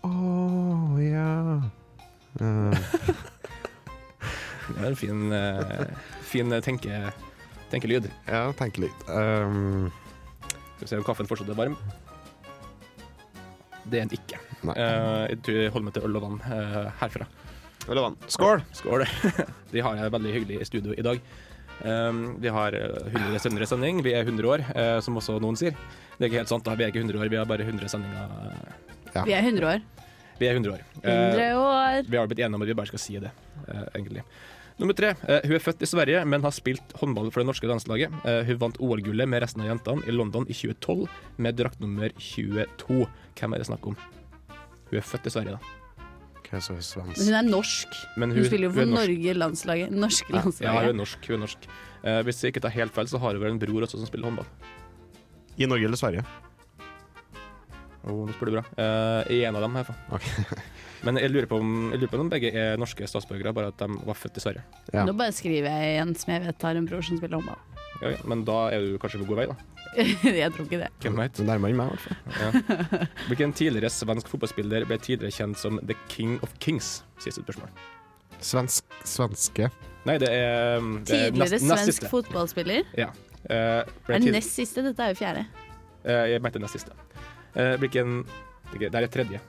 Speaker 4: Å ja Eh,
Speaker 3: Det er en fin, eh, fin tenke, tenkelyd.
Speaker 4: Ja, tenke litt. Um,
Speaker 3: Skal vi se om kaffen fortsatt er varm. Det er den ikke.
Speaker 4: Nei.
Speaker 3: Eh, jeg tror jeg holder meg til øl og vann eh, herfra.
Speaker 4: Øl og vann. Skål!
Speaker 3: Skål. *laughs* Vi har et veldig hyggelig studio i dag. Um, vi har eh, 100 sendere i sending. Vi er 100 år, eh, som også noen sier. Det er ikke helt sant, da. Vi er ikke 100 år, vi har bare 100 sendinger. eh,
Speaker 5: Vi er 100 år.
Speaker 3: Vi er 100 år. Eh,
Speaker 5: 100 år.
Speaker 3: Vi har blitt enige om at vi bare skal si det, eh, egentlig. Nummer tre. eh, hun er født i Sverige, men har spilt håndball for det norske landslaget. Eh, hun vant OL-gullet med resten av jentene i London i 2012 med drakt nummer 22. Hvem er det snakk om? Hun er født i Sverige, da.
Speaker 4: Hva er så svensk?
Speaker 5: Men hun er norsk.
Speaker 3: Men
Speaker 5: Hun,
Speaker 3: hun-
Speaker 5: spiller jo
Speaker 3: hun
Speaker 5: for
Speaker 3: er norsk.
Speaker 5: Norge landslaget. Norske *laughs*
Speaker 3: Ja, hun er
Speaker 5: landslaget.
Speaker 3: norsk. Hun er norsk. Eh, hvis jeg ikke tar helt feil, så har hun vel en bror også som spiller håndball.
Speaker 4: I Norge eller Sverige?
Speaker 3: Oh, nå spør du bra. Eh, I en av dem, i hvert fall.
Speaker 4: *laughs*
Speaker 3: Men jeg lurer, på om, jeg lurer på om begge er norske statsborgere, bare at de var født i Sverige.
Speaker 5: Nå bare skriver jeg en som jeg vet har en bror som spiller håndball. *laughs*
Speaker 3: Ja, ja, men da er du kanskje på god vei, da.
Speaker 5: jeg tror ikke det.
Speaker 3: Hvem vet?
Speaker 4: Det nærmer meg, i hvert fall.
Speaker 3: Ja. Hvilken tidligere svensk fotballspiller ble tidligere kjent som The King of Kings? Siste spørsmål.
Speaker 4: Svensk, svenske
Speaker 3: Nei, det er, mm, det er
Speaker 5: Tidligere
Speaker 3: nest- nest
Speaker 5: svensk
Speaker 3: siste.
Speaker 5: fotballspiller.
Speaker 3: Ja. Eh,
Speaker 5: Er
Speaker 3: ble
Speaker 5: det
Speaker 3: tid-
Speaker 5: nest siste? Dette er jo fjerde.
Speaker 3: Eh, jeg mente nest siste. Eh, hvilken Det er tredje.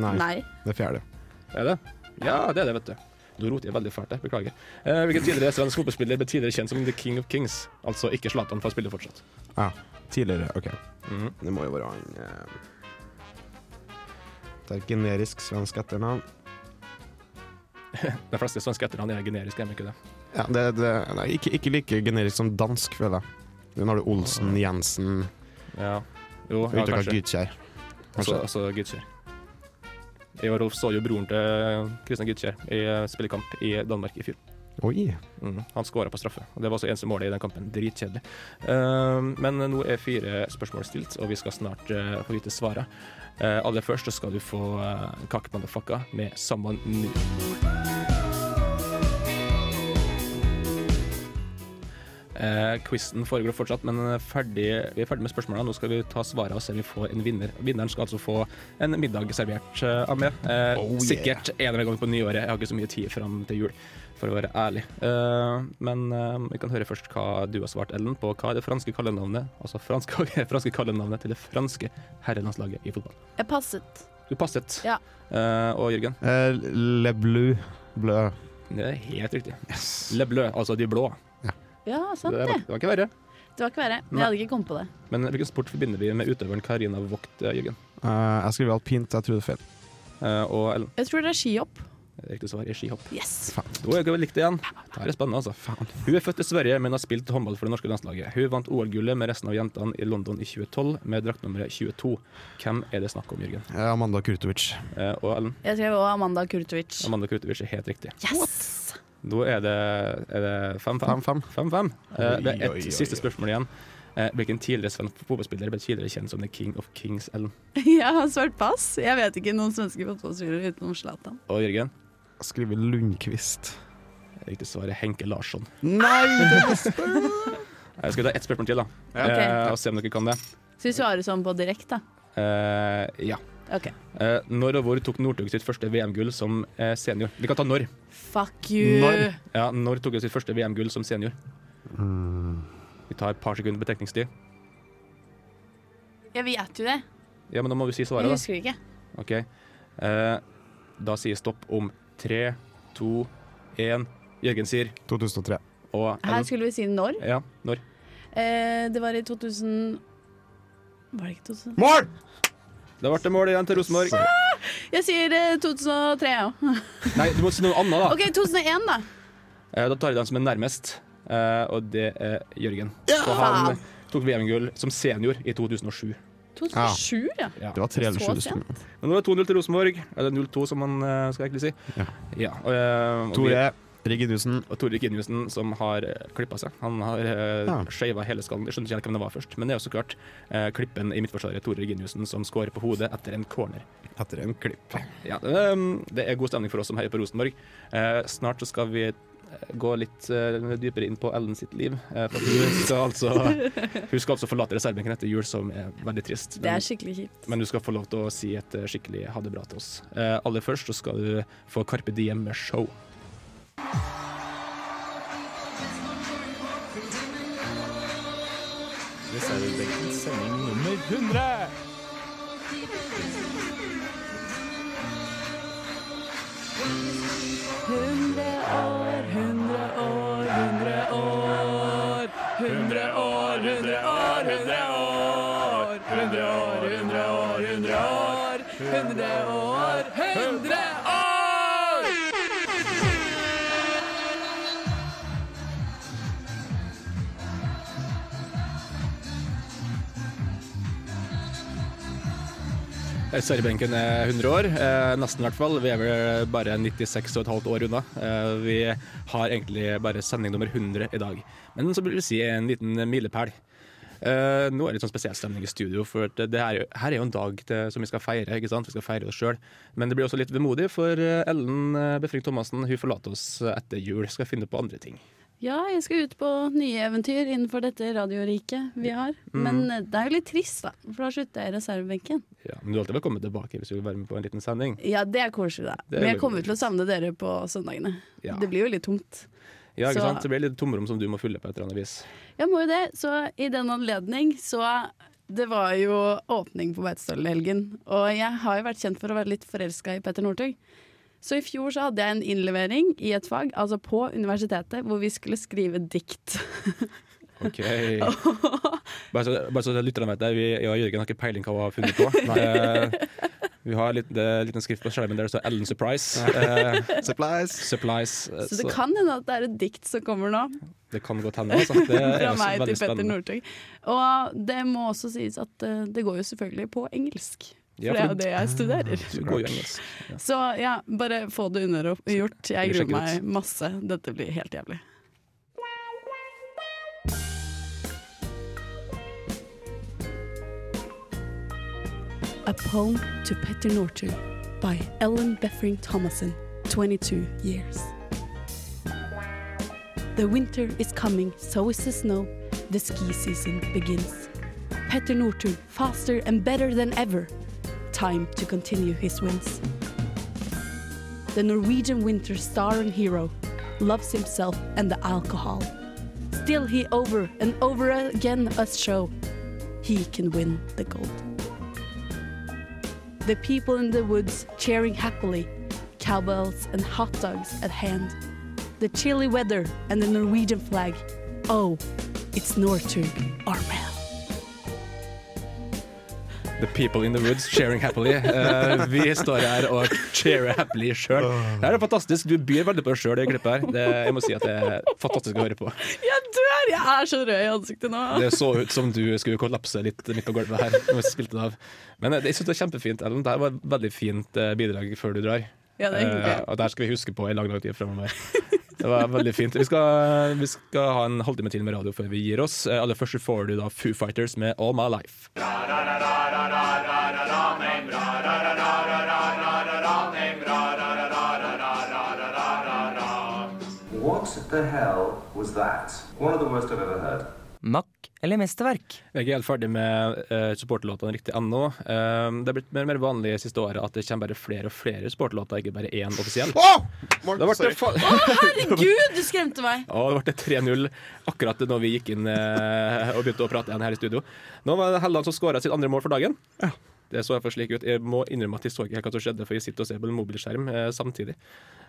Speaker 4: Nei.
Speaker 5: Nei.
Speaker 4: Det fjerde.
Speaker 3: Er det? Ja, det er det, vet du. Nå roter jeg veldig fælt her, beklager. Eh, hvilken tidligere svensk fotballspiller ble tidligere kjent som The King of Kings? Altså ikke Zlatan, for han spiller fortsatt.
Speaker 4: Ja, tidligere. OK.
Speaker 3: Mhm.
Speaker 4: Det må jo være han eh, Det er et generisk svensk etternavn.
Speaker 3: De fleste svenske etternavn er generiske, er de ikke det?
Speaker 4: Ja, det, det, nei, ikke, ikke like generisk som dansk, føler jeg. Den har du Olsen, Jensen
Speaker 3: Ja. Jo, ja,
Speaker 4: Utekat
Speaker 3: kanskje.
Speaker 4: Gytkjær.
Speaker 3: Altså,
Speaker 4: Kanskje.
Speaker 3: altså Gytkjær. Jeg og Rolf så jo broren til Kristian Gytkjær i eh, spillekamp i Danmark i fjor.
Speaker 4: Oi.
Speaker 3: Mm, han skåra på straffe. og Det var også eneste målet i den kampen. Dritkjedelig. Ehm, men nå er fire spørsmål stilt, og vi skal snart eh, få vite svaret. Eh, aller først så skal du få uh, Kake Motherfucka med 'Someone New'. Uh, quizen foregår fortsatt, men er ferdig, vi er ferdig med spørsmålene. Nå skal vi ta svarene og se om vi får en vinner. Vinneren skal altså få en middag servert eh, av meg. Eh,
Speaker 4: Oh, yeah.
Speaker 3: Sikkert en eller annen gang på nyåret. Jeg har ikke så mye tid fram til jul, for å være ærlig. Eh, men eh, vi kan høre først hva du har svart, Ellen, på hva er det franske kallenavnet altså franske, *laughs* franske kallenavnet til det franske herrelandslaget i fotball.
Speaker 5: Jeg passet.
Speaker 3: Du passet.
Speaker 5: Ja.
Speaker 3: Eh, og Jørgen?
Speaker 4: Eh, Le Bleu. Blø.
Speaker 3: Det er helt riktig. Le bleu, altså de blå.
Speaker 5: Ja, sant
Speaker 3: det,
Speaker 5: det.
Speaker 3: var, det var ikke verre.
Speaker 5: Det var ikke verre. Men
Speaker 3: Nei.
Speaker 5: jeg hadde ikke kommet på det.
Speaker 3: Men hvilken sport forbinder vi med utøveren Karina Vogt, eh, Jørgen?
Speaker 4: Eh, jeg skriver alpint, jeg tror det er feil.
Speaker 3: Eh, og Ellen?
Speaker 5: Jeg tror det er skihopp.
Speaker 3: Riktig svar er skihopp.
Speaker 5: Yes.
Speaker 3: Da er jeg likt igjen. Det her er spennende, altså. Hun er født i Sverige, men har spilt håndball for det norske landslaget. Hun vant OL-gullet med resten av jentene i London i 2012 med draktnummeret 22. Hvem er det snakk om, Jørgen?
Speaker 4: Eh, Amanda Kurtovic.
Speaker 3: Eh, og Ellen?
Speaker 5: Jeg skrev også Amanda Kurtovic.
Speaker 3: Amanda Krutovic er helt riktig.
Speaker 5: Yes!
Speaker 3: Da er det er det 5-5. 5-5. Eh, det
Speaker 4: Oi,
Speaker 3: er
Speaker 4: oi, oi,
Speaker 3: ett siste
Speaker 4: oi.
Speaker 3: spørsmål igjen. Eh, Hvilken tidligere svensk fotballspiller ble tidligere kjent som The King of Kings Ellen?
Speaker 12: *laughs* Jeg har svart pass. Jeg vet ikke noen svenske fotballspillere utenom Zlatan.
Speaker 3: Og Jørgen?
Speaker 4: Skrive Lundqvist.
Speaker 3: Riktig svar er Henke Larsson.
Speaker 4: Nei, det
Speaker 3: *laughs*
Speaker 4: visste
Speaker 3: Eh, Skal vi ta ett spørsmål til, da?
Speaker 12: Ja. Ok.
Speaker 3: Eh, og se om dere kan det.
Speaker 12: Så vi svarer sånn på direkte, da.
Speaker 3: Eh, ja.
Speaker 12: Ok.
Speaker 3: Eh, når og hvor tok Northug sitt første VM-gull som eh, senior? Vi kan ta når.
Speaker 12: Fuck you!
Speaker 3: Ja, når tok hun sitt første VM-gull som senior? Vi tar et par sekunder betenkningstid.
Speaker 12: Jeg vet jo det.
Speaker 3: Ja, men da må du si svaret,
Speaker 12: Jeg
Speaker 3: da.
Speaker 12: husker ikke.
Speaker 3: OK. Eh, da sier stopp om tre, to, én. Jørgen sier
Speaker 4: 2003.
Speaker 3: Og
Speaker 12: Her skulle vi si når.
Speaker 3: Ja, når?
Speaker 12: Eh, det var i 2000 Var det ikke 2000?
Speaker 4: Mål!
Speaker 3: Det ble mål igjen til Rosenborg.
Speaker 12: Jeg sier eh, 2003, jeg òg.
Speaker 3: Nei, du må si noe annet, da.
Speaker 12: OK, 2001, da.
Speaker 3: Eh, Da tar jeg den som er nærmest, eh, og det er Jørgen.
Speaker 12: Ja!
Speaker 3: Så han tok VM-gull som senior i 2007.
Speaker 12: 2007, ja.
Speaker 4: Det var tre eller
Speaker 12: Så
Speaker 4: sju.
Speaker 12: sent.
Speaker 3: Men nå er det 2-0 til Rosenborg. Eller 0-2, som man eh, skal egentlig si.
Speaker 4: Ja.
Speaker 3: og, eh, og
Speaker 4: Tore Riginussen.
Speaker 3: vi- Og Tore Ginussen, som har klippa seg. Han har uh,
Speaker 4: Ja.
Speaker 3: skeiva hele skallen. Jeg skjønte ikke helt hvem det var først, men det er jo så klart eh, klippen i midtforsvaret, Tore Ginussen, som skårer på hodet etter en corner.
Speaker 4: Etter en klipp.
Speaker 3: Ja, ehm, det er god stemning for oss som heier på Rosenborg. Eh, snart så skal vi eh, gå litt eh, dypere inn på Ellen sitt liv. eh, for hun skal altså,
Speaker 4: *laughs*
Speaker 3: hun skal altså forlate reservebenken etter jul, som er veldig trist.
Speaker 12: Det er skikkelig kjipt.
Speaker 3: Men du skal få lov til å si et eh, skikkelig ha det bra til oss. Eh, aller først så skal du få Carpe Diem med show.
Speaker 14: Reservebenkens sending nummer 100.
Speaker 1: Hundre år, hundre år, hundre år.
Speaker 14: Hundre år, hundre år, hundre år. Hundre år, hundre år, hundre år. Hundre år, hundre år!
Speaker 3: Serbenken er 100 år, eh, nesten i hvert fall. Vi er vel bare 96 og et halvt år unna. Eh, vi har egentlig bare sending nummer 100 i dag. Men så vil jeg si en liten milepæl. Eh, nå er det litt sånn spesiell stemning i studio, for at det her, er jo- her er jo en dag til, som vi skal feire. ikke sant? Vi skal feire oss sjøl. Men det blir også litt vemodig, for eh, Ellen eh, Befring Thomassen hun forlater oss etter jul. Skal finne på andre ting.
Speaker 12: Ja, jeg skal ut på nye eventyr innenfor dette radioriket vi har.
Speaker 3: Mm.
Speaker 12: Men eh, det er jo litt trist, da, for da slutter jeg i reservebenken.
Speaker 3: Ja, men du er alltid velkommen tilbake hvis du vil være med på en liten sending.
Speaker 12: Ja, det er koselig, da.
Speaker 3: Det er
Speaker 12: Men jeg
Speaker 3: veldig
Speaker 12: kommer til å savne dere på søndagene.
Speaker 3: Ja.
Speaker 12: Det blir jo litt tomt.
Speaker 3: Ja, ikke
Speaker 12: Så-
Speaker 3: sant? Det blir litt tomrom som du må fylle på et eller annet vis.
Speaker 12: Jeg må jo det, så i den anledning så Det var jo åpning på Beitostølen i helgen, og jeg har jo vært kjent for å være litt forelska i Petter Northug. Så i fjor så hadde jeg en innlevering i et fag, altså på universitetet, hvor vi skulle skrive dikt. *laughs*
Speaker 3: Ok. Bare så, bare så lytterne vet det, vi jeg og Jørgen har ikke peiling hva hun har
Speaker 12: *laughs*
Speaker 3: funnet på. Eh, vi har en liten, eh, liten skrift på skjermen der det står Ellen Surprise. Eh,
Speaker 4: *laughs* Supplies.
Speaker 3: Eh,
Speaker 12: *laughs* Så det kan hende at det er et dikt som kommer nå,
Speaker 3: det kan godt hende. Altså. Det er
Speaker 12: *laughs* fra
Speaker 3: også
Speaker 12: meg
Speaker 3: veldig
Speaker 12: til Petter
Speaker 3: spennende.
Speaker 12: Northug. Og det må også sies at eh, det går jo selvfølgelig på engelsk. For
Speaker 3: Ja,
Speaker 12: det er
Speaker 3: for
Speaker 12: jo det jeg studerer.
Speaker 3: *laughs* Du går jo engelsk. Ja.
Speaker 12: Så ja, bare få det unnagjort. Jeg
Speaker 3: Vi sjekker
Speaker 12: gruer
Speaker 3: ut.
Speaker 12: meg masse. Dette blir helt jævlig. A poem to Petter Northug by Ellen Beffring Thomason, 22 years. The winter is coming, so is the snow. The ski season begins. Petter Northug, faster and better than ever. Time to continue his wins. The Norwegian winter star and hero loves himself and the alcohol. Still, he over and over again us show he can win the gold. The people in the woods cheering happily, cowbells and hot dogs at hand. The chilly weather and the Norwegian flag. Oh, it's Nortug, our man.
Speaker 3: The people in the woods sharing happily. Eh, vi står her og cheerer happily sjøl. Det her er fantastisk. Du byr veldig på deg sjøl i det klippet her. Det, jeg må si at det er fantastisk å høre på.
Speaker 12: Jeg dør! Jeg er så rød i ansiktet nå.
Speaker 3: Det så ut som du skulle kollapse litt midt på gulvet her. Når vi spilte det av. Men eh, jeg syns det er kjempefint, Ellen. Det her var et veldig fint eh, bidrag før du drar.
Speaker 12: Ja, det er hyggelig.
Speaker 3: Eh, og det her skal vi huske på i lang, lang tid fremover. Det var veldig fint. Vi skal, vi skal ha en halvtime til med radio før vi gir oss. Eh, Aller først så får du da Foo Fighters med All My Life.
Speaker 19: What the hell was that? One of the worst I've ever heard.
Speaker 3: Mack eller mesterverk? Jeg er ikke helt ferdig med uh, supporterlåtene riktig ennå. Eh, det har blitt mer og mer vanlig de siste året at det kommer bare flere og flere supporterlåter, ikke bare én offisiell. Da ble det fa-
Speaker 5: Å, herregud, du skremte meg!
Speaker 3: Og det ble 3-0 akkurat når vi gikk inn eh, og begynte å prate igjen her i studio. Nå var det Helland som skåra sitt andre mål for dagen. Det så i hvert fall slik ut. Jeg må innrømme at jeg så ikke helt hva som skjedde, for jeg sitter og ser på en mobilskjerm eh, samtidig.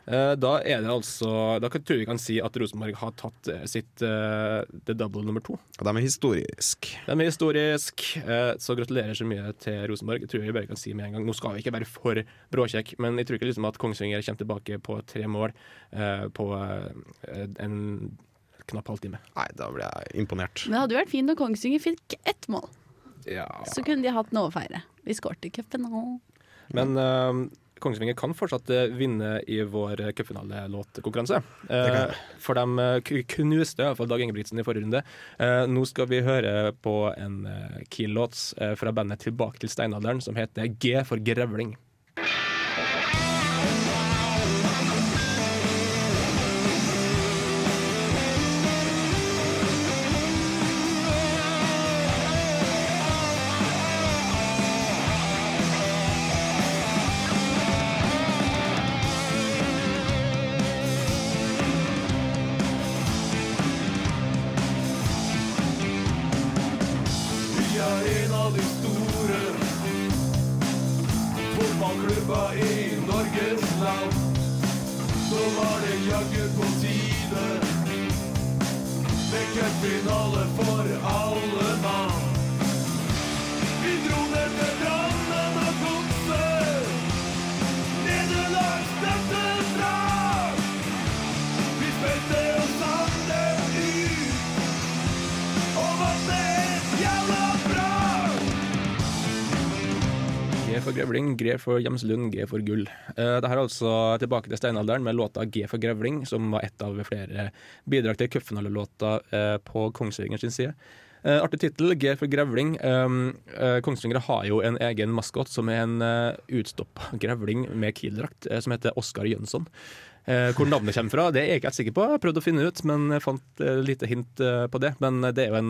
Speaker 3: Eh, da er det altså Da kan, tror jeg vi kan si at Rosenborg har tatt eh, sitt eh, the double nummer to.
Speaker 4: De er historisk.
Speaker 3: De er historisk, eh, så gratulerer så mye til Rosenborg. Jeg tror jeg bare kan si med en gang Nå skal vi ikke være for bråkjekk, men jeg tror ikke liksom at Kongsvinger kommer tilbake på tre mål eh, på eh, en knapp halvtime.
Speaker 4: Nei, da blir jeg imponert.
Speaker 12: Men det hadde jo vært fint når Kongsvinger fikk ett mål.
Speaker 3: Ja.
Speaker 12: Så kunne de hatt noe å feire. Vi skåret i cupen nå.
Speaker 3: Men eh, Kongsvinger kan fortsatt eh, vinne i vår eh, cupfinalelåtkonkurranse.
Speaker 4: Det kan
Speaker 3: Eh, for de eh, ku- knuste i hvert fall Dag Ingebrigtsen i forrige runde. Eh, nå skal vi høre på en eh, Kiel-låt eh, fra bandet Tilbake til steinalderen som heter G for grevling.
Speaker 14: Vi er en av de store Fotballklubba i Norges land Så var det jaggu på tide Med cupfinale for alle mann Vi dro ned til Drammen og Godset Nederlag stemte fra Vi spilte oss alle ut og var så jævla bra!
Speaker 3: G for grevling, G for Gjemslund, G for gull. Eh, Det her er altså tilbake til steinalderen med låta G for grevling, som var ett av flere bidrag til cupfinalelåta eh, på Kongsvinger sin side. Eh, artig tittel, G for grevling. Um, eh, Kongsvinger har jo en egen maskot som er en uh, utstoppa grevling med kieldrakt, eh, som heter Oskar Jønsson. Eh, hvor navnet kommer fra, det er jeg ikke helt sikker på. Jeg prøvde å finne ut, men jeg fant eh, lite hint eh, på det. Men eh, det er jo en,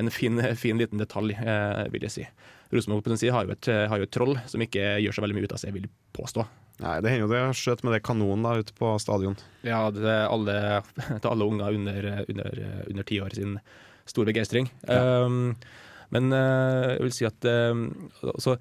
Speaker 3: en fin, fin liten detalj, eh, vil jeg si. Rosenborg på den siden har, jo et- har jo et troll som ikke gjør så veldig mye ut av seg, vil jeg påstå.
Speaker 4: Nei, Det hender jo det skjøt med det kanonen da ute på stadion.
Speaker 3: Ja, det er alle, til alle unger under, under, under ti år sin store begeistring. Um, men eh, jeg vil si at eh, altså,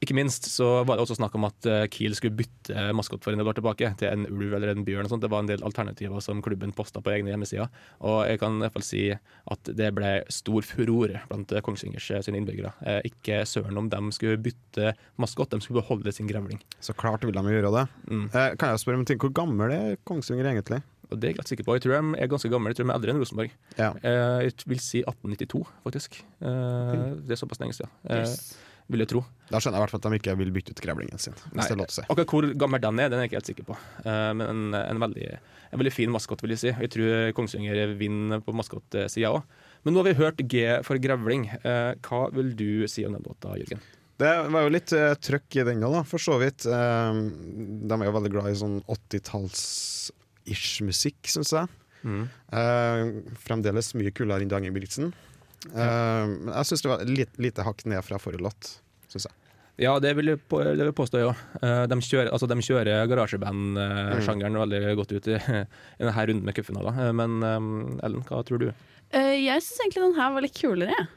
Speaker 3: Ikke minst så var det også snakk om at eh, Kiel skulle bytte maskot for en del år tilbake, til en ulv eller en bjørn. og sånt. Det var en del alternativer som klubben posta på egne hjemmesider. Og jeg kan i hvert fall si at det ble stor furore blant eh, Kongsvingers eh, sine innbyggere. Eh, ikke søren om de skulle bytte maskot, de skulle beholde sin grevling.
Speaker 4: Så klart vil de jo gjøre det.
Speaker 3: Mm.
Speaker 4: Eh, kan jeg spørre om en ting? Hvor gammel er Kongsvinger egentlig?
Speaker 3: Og det er jeg ikke helt sikker på. Jeg tror de er ganske gamle. Jeg tror de er eldre enn Rosenborg.
Speaker 4: Ja.
Speaker 3: Eh, jeg vil si 1892, faktisk. Eh, det er såpass lenge siden. Eh,
Speaker 4: Yes.
Speaker 3: Vil jeg tro.
Speaker 4: Da skjønner jeg i hvert fall at de ikke vil bytte ut grevlingen sin. Hvis
Speaker 3: Nei,
Speaker 4: det er lov til å si.
Speaker 3: Akkurat hvor gammel den er, den er jeg ikke helt sikker på. Eh, men en, en, veldig, en veldig fin maskot, vil jeg si. Jeg tror Kongsvinger vinner på maskotsida òg. Men nå har vi hørt G for grevling. Eh, hva vil du si om den låta, Jørgen?
Speaker 4: Det var jo litt eh, trøkk i den da, da, for så vidt. Eh, de er jo veldig glad i sånn 80-talls-ish musikk, syns jeg.
Speaker 3: Mm.
Speaker 4: Eh, fremdeles mye kulere enn Dag Ingebrigtsen. Eh, men jeg syns det var litt, lite hakk ned fra forrige låt, syns jeg.
Speaker 3: Ja, det vil jeg, på, det vil jeg påstå, ja. Eh, De kjører, altså, de kjører garasjeband-sjangeren veldig godt ut i, i denne runden med cupfinaler. Eh, Men eh, Ellen, hva tror du?
Speaker 12: Eh, jeg syns egentlig den her var litt kulere. jeg.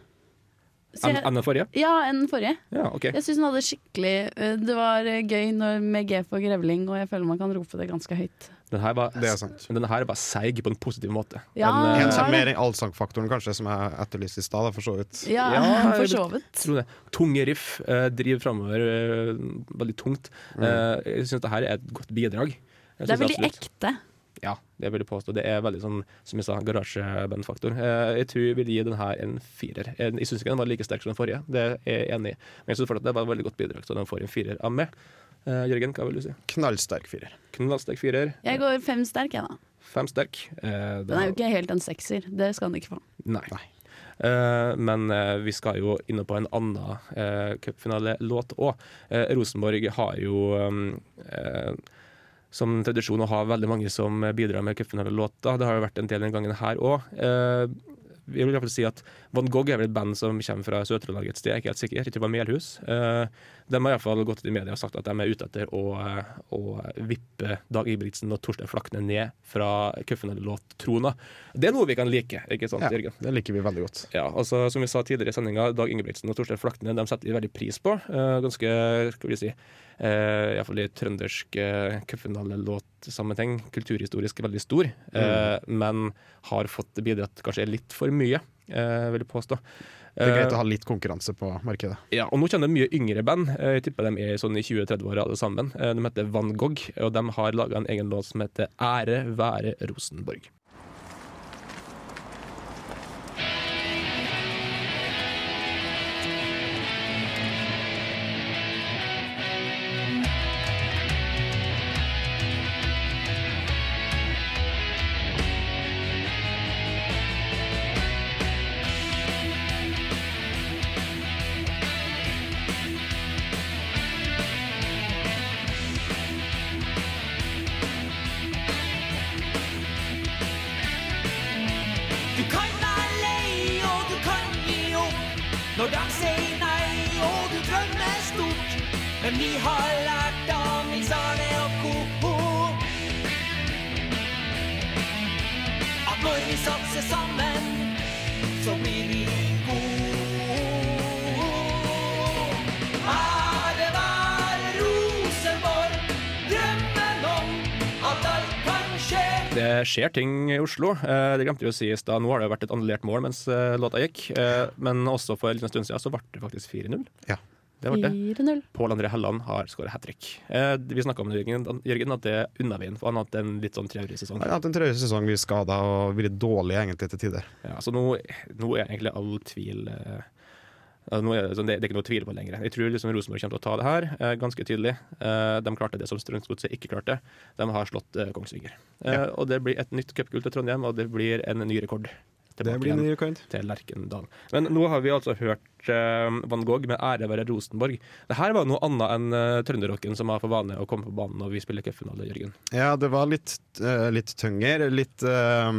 Speaker 12: Så
Speaker 3: Enn
Speaker 12: jeg-
Speaker 3: enn den forrige?
Speaker 12: Ja, enn den forrige.
Speaker 3: Ja, ok.
Speaker 12: Jeg syns den hadde skikkelig eh, Det var eh, gøy når, med G for grevling, og jeg føler man kan rope det ganske høyt.
Speaker 3: Den her var,
Speaker 4: altså
Speaker 3: men Den her var seig på en positiv måte.
Speaker 12: Ja,
Speaker 3: Den, eh,
Speaker 12: den var det.
Speaker 4: Mer enn allsangfaktoren, kanskje, som jeg etterlyste i stad, da, for så vidt.
Speaker 12: Ja, *laughs* for så vidt.
Speaker 3: Tror det. Tunge riff, eh, driver framover veldig tungt. Eh, jeg syns det her er et godt bidrag. Jeg
Speaker 12: Det er
Speaker 3: synes
Speaker 12: veldig
Speaker 3: absolutt-
Speaker 12: ekte.
Speaker 3: Ja, det vil jeg påstå. Det er veldig sånn, som jeg sa, garasjebandfaktor. Eh, jeg tror jeg vil gi den her en firer. Eh, Jeg syns ikke den var like sterk som den forrige, det er jeg enig i. Men jeg syns fortsatt det var et veldig godt bidrag, så den får en firer av meg. Eh, Jørgen, hva vil du si?
Speaker 4: Knallsterk firer.
Speaker 3: Knallsterk firer.
Speaker 12: Jeg går fem sterk, jeg, da.
Speaker 3: Fem sterk. Eh, det
Speaker 12: Den er
Speaker 3: var-
Speaker 12: jo ikke helt en sekser. Det skal den ikke få.
Speaker 3: Nei. Eh, men eh, vi skal jo inne på en annen uh, cupfinalelåt òg. Rosenborg har jo um, eh, som tradisjon å ha veldig mange som bidrar med cupfinalelåter. Det har jo vært en del den gangen her òg. jeg vil i hvert fall si at Van Gogh er vel et band som kommer fra Sør-Trøndelag et sted, jeg er ikke helt sikker. Jeg tror det var Melhus. Eh, de har iallfall gått ut i media og sagt at de er ute etter å, eh, å vippe Dag Ingebrigtsen og Torstein Flakne ned fra cupfinalelåttrona. Det er noe vi kan like, ikke sant,
Speaker 4: Ja,
Speaker 3: Jørgen?
Speaker 4: det liker vi veldig godt.
Speaker 3: Ja, altså Som vi sa tidligere i sendinga, Dag Ingebrigtsen og Torstein Flakne de setter vi veldig pris på. Eh, ganske, skal vi si, eh, iallfall i trøndersk eh, cupfinalelåtsammenheng, kulturhistorisk veldig stor. Eh,
Speaker 4: Mm.
Speaker 3: Men har fått bidratt kanskje litt for mye, eh, vil jeg påstå.
Speaker 4: Det er greit å
Speaker 3: Eh,
Speaker 4: ha litt konkurranse på markedet.
Speaker 3: ja, og nå kjenner jeg mye yngre band. Eh, Jeg tipper de er sånn i 20-30-åra alle sammen. Eh, De heter Van Gogh, og de har laga en egen låt som heter 'Ære være Rosenborg'.
Speaker 14: Du kan være lei, og du kan gi opp når de sier nei, og du drømmer stort. Men vi har lært av Nils Arne og Co. at når vi satser sammen, så blir vi gode. Ære være Rosenborg, drømmen om at alt kan skje.
Speaker 3: Det skjer ting i Oslo. Eh, Det glemte vi å si i stad. Nå har det jo vært et annullert mål mens eh, låta gikk. Eh, Men også for en liten stund siden så ble det faktisk 4-0. Det ble det.
Speaker 12: 4-0.
Speaker 3: Pål André Helland har skåra hat trick. Vi snakka om det, Jørgen, Jørgen, at det er unna veien, for han har hatt en litt sånn traurig sesong.
Speaker 4: Jeg har hatt en traurig sesong, vi skada og vært dårlige egentlig til tider.
Speaker 3: Ja, så nå, nå er egentlig all tvil eh, altså nå er det, sånn, det, det er ikke noe tvil på det lenger. Jeg tror liksom Rosenborg kommer til å ta det her, eh, ganske tydelig. Eh, de klarte det som Strømsgodset ikke klarte. De har slått eh, Kongsvinger. Eh, Og det blir et nytt cupgull til Trondheim, og det blir en ny rekord. Tilbake
Speaker 4: blir en
Speaker 3: igjen
Speaker 4: ny rekord.
Speaker 3: Til Lerkendal. Men nå har vi altså hørt eh, Van Gogh med 'Ære være Rosenborg'. Det her var noe annet enn uh, trønderrocken som har for vane å komme på banen når vi spiller cupfinale, Jørgen.
Speaker 4: Ja, det var litt, uh, litt tyngre, litt eh,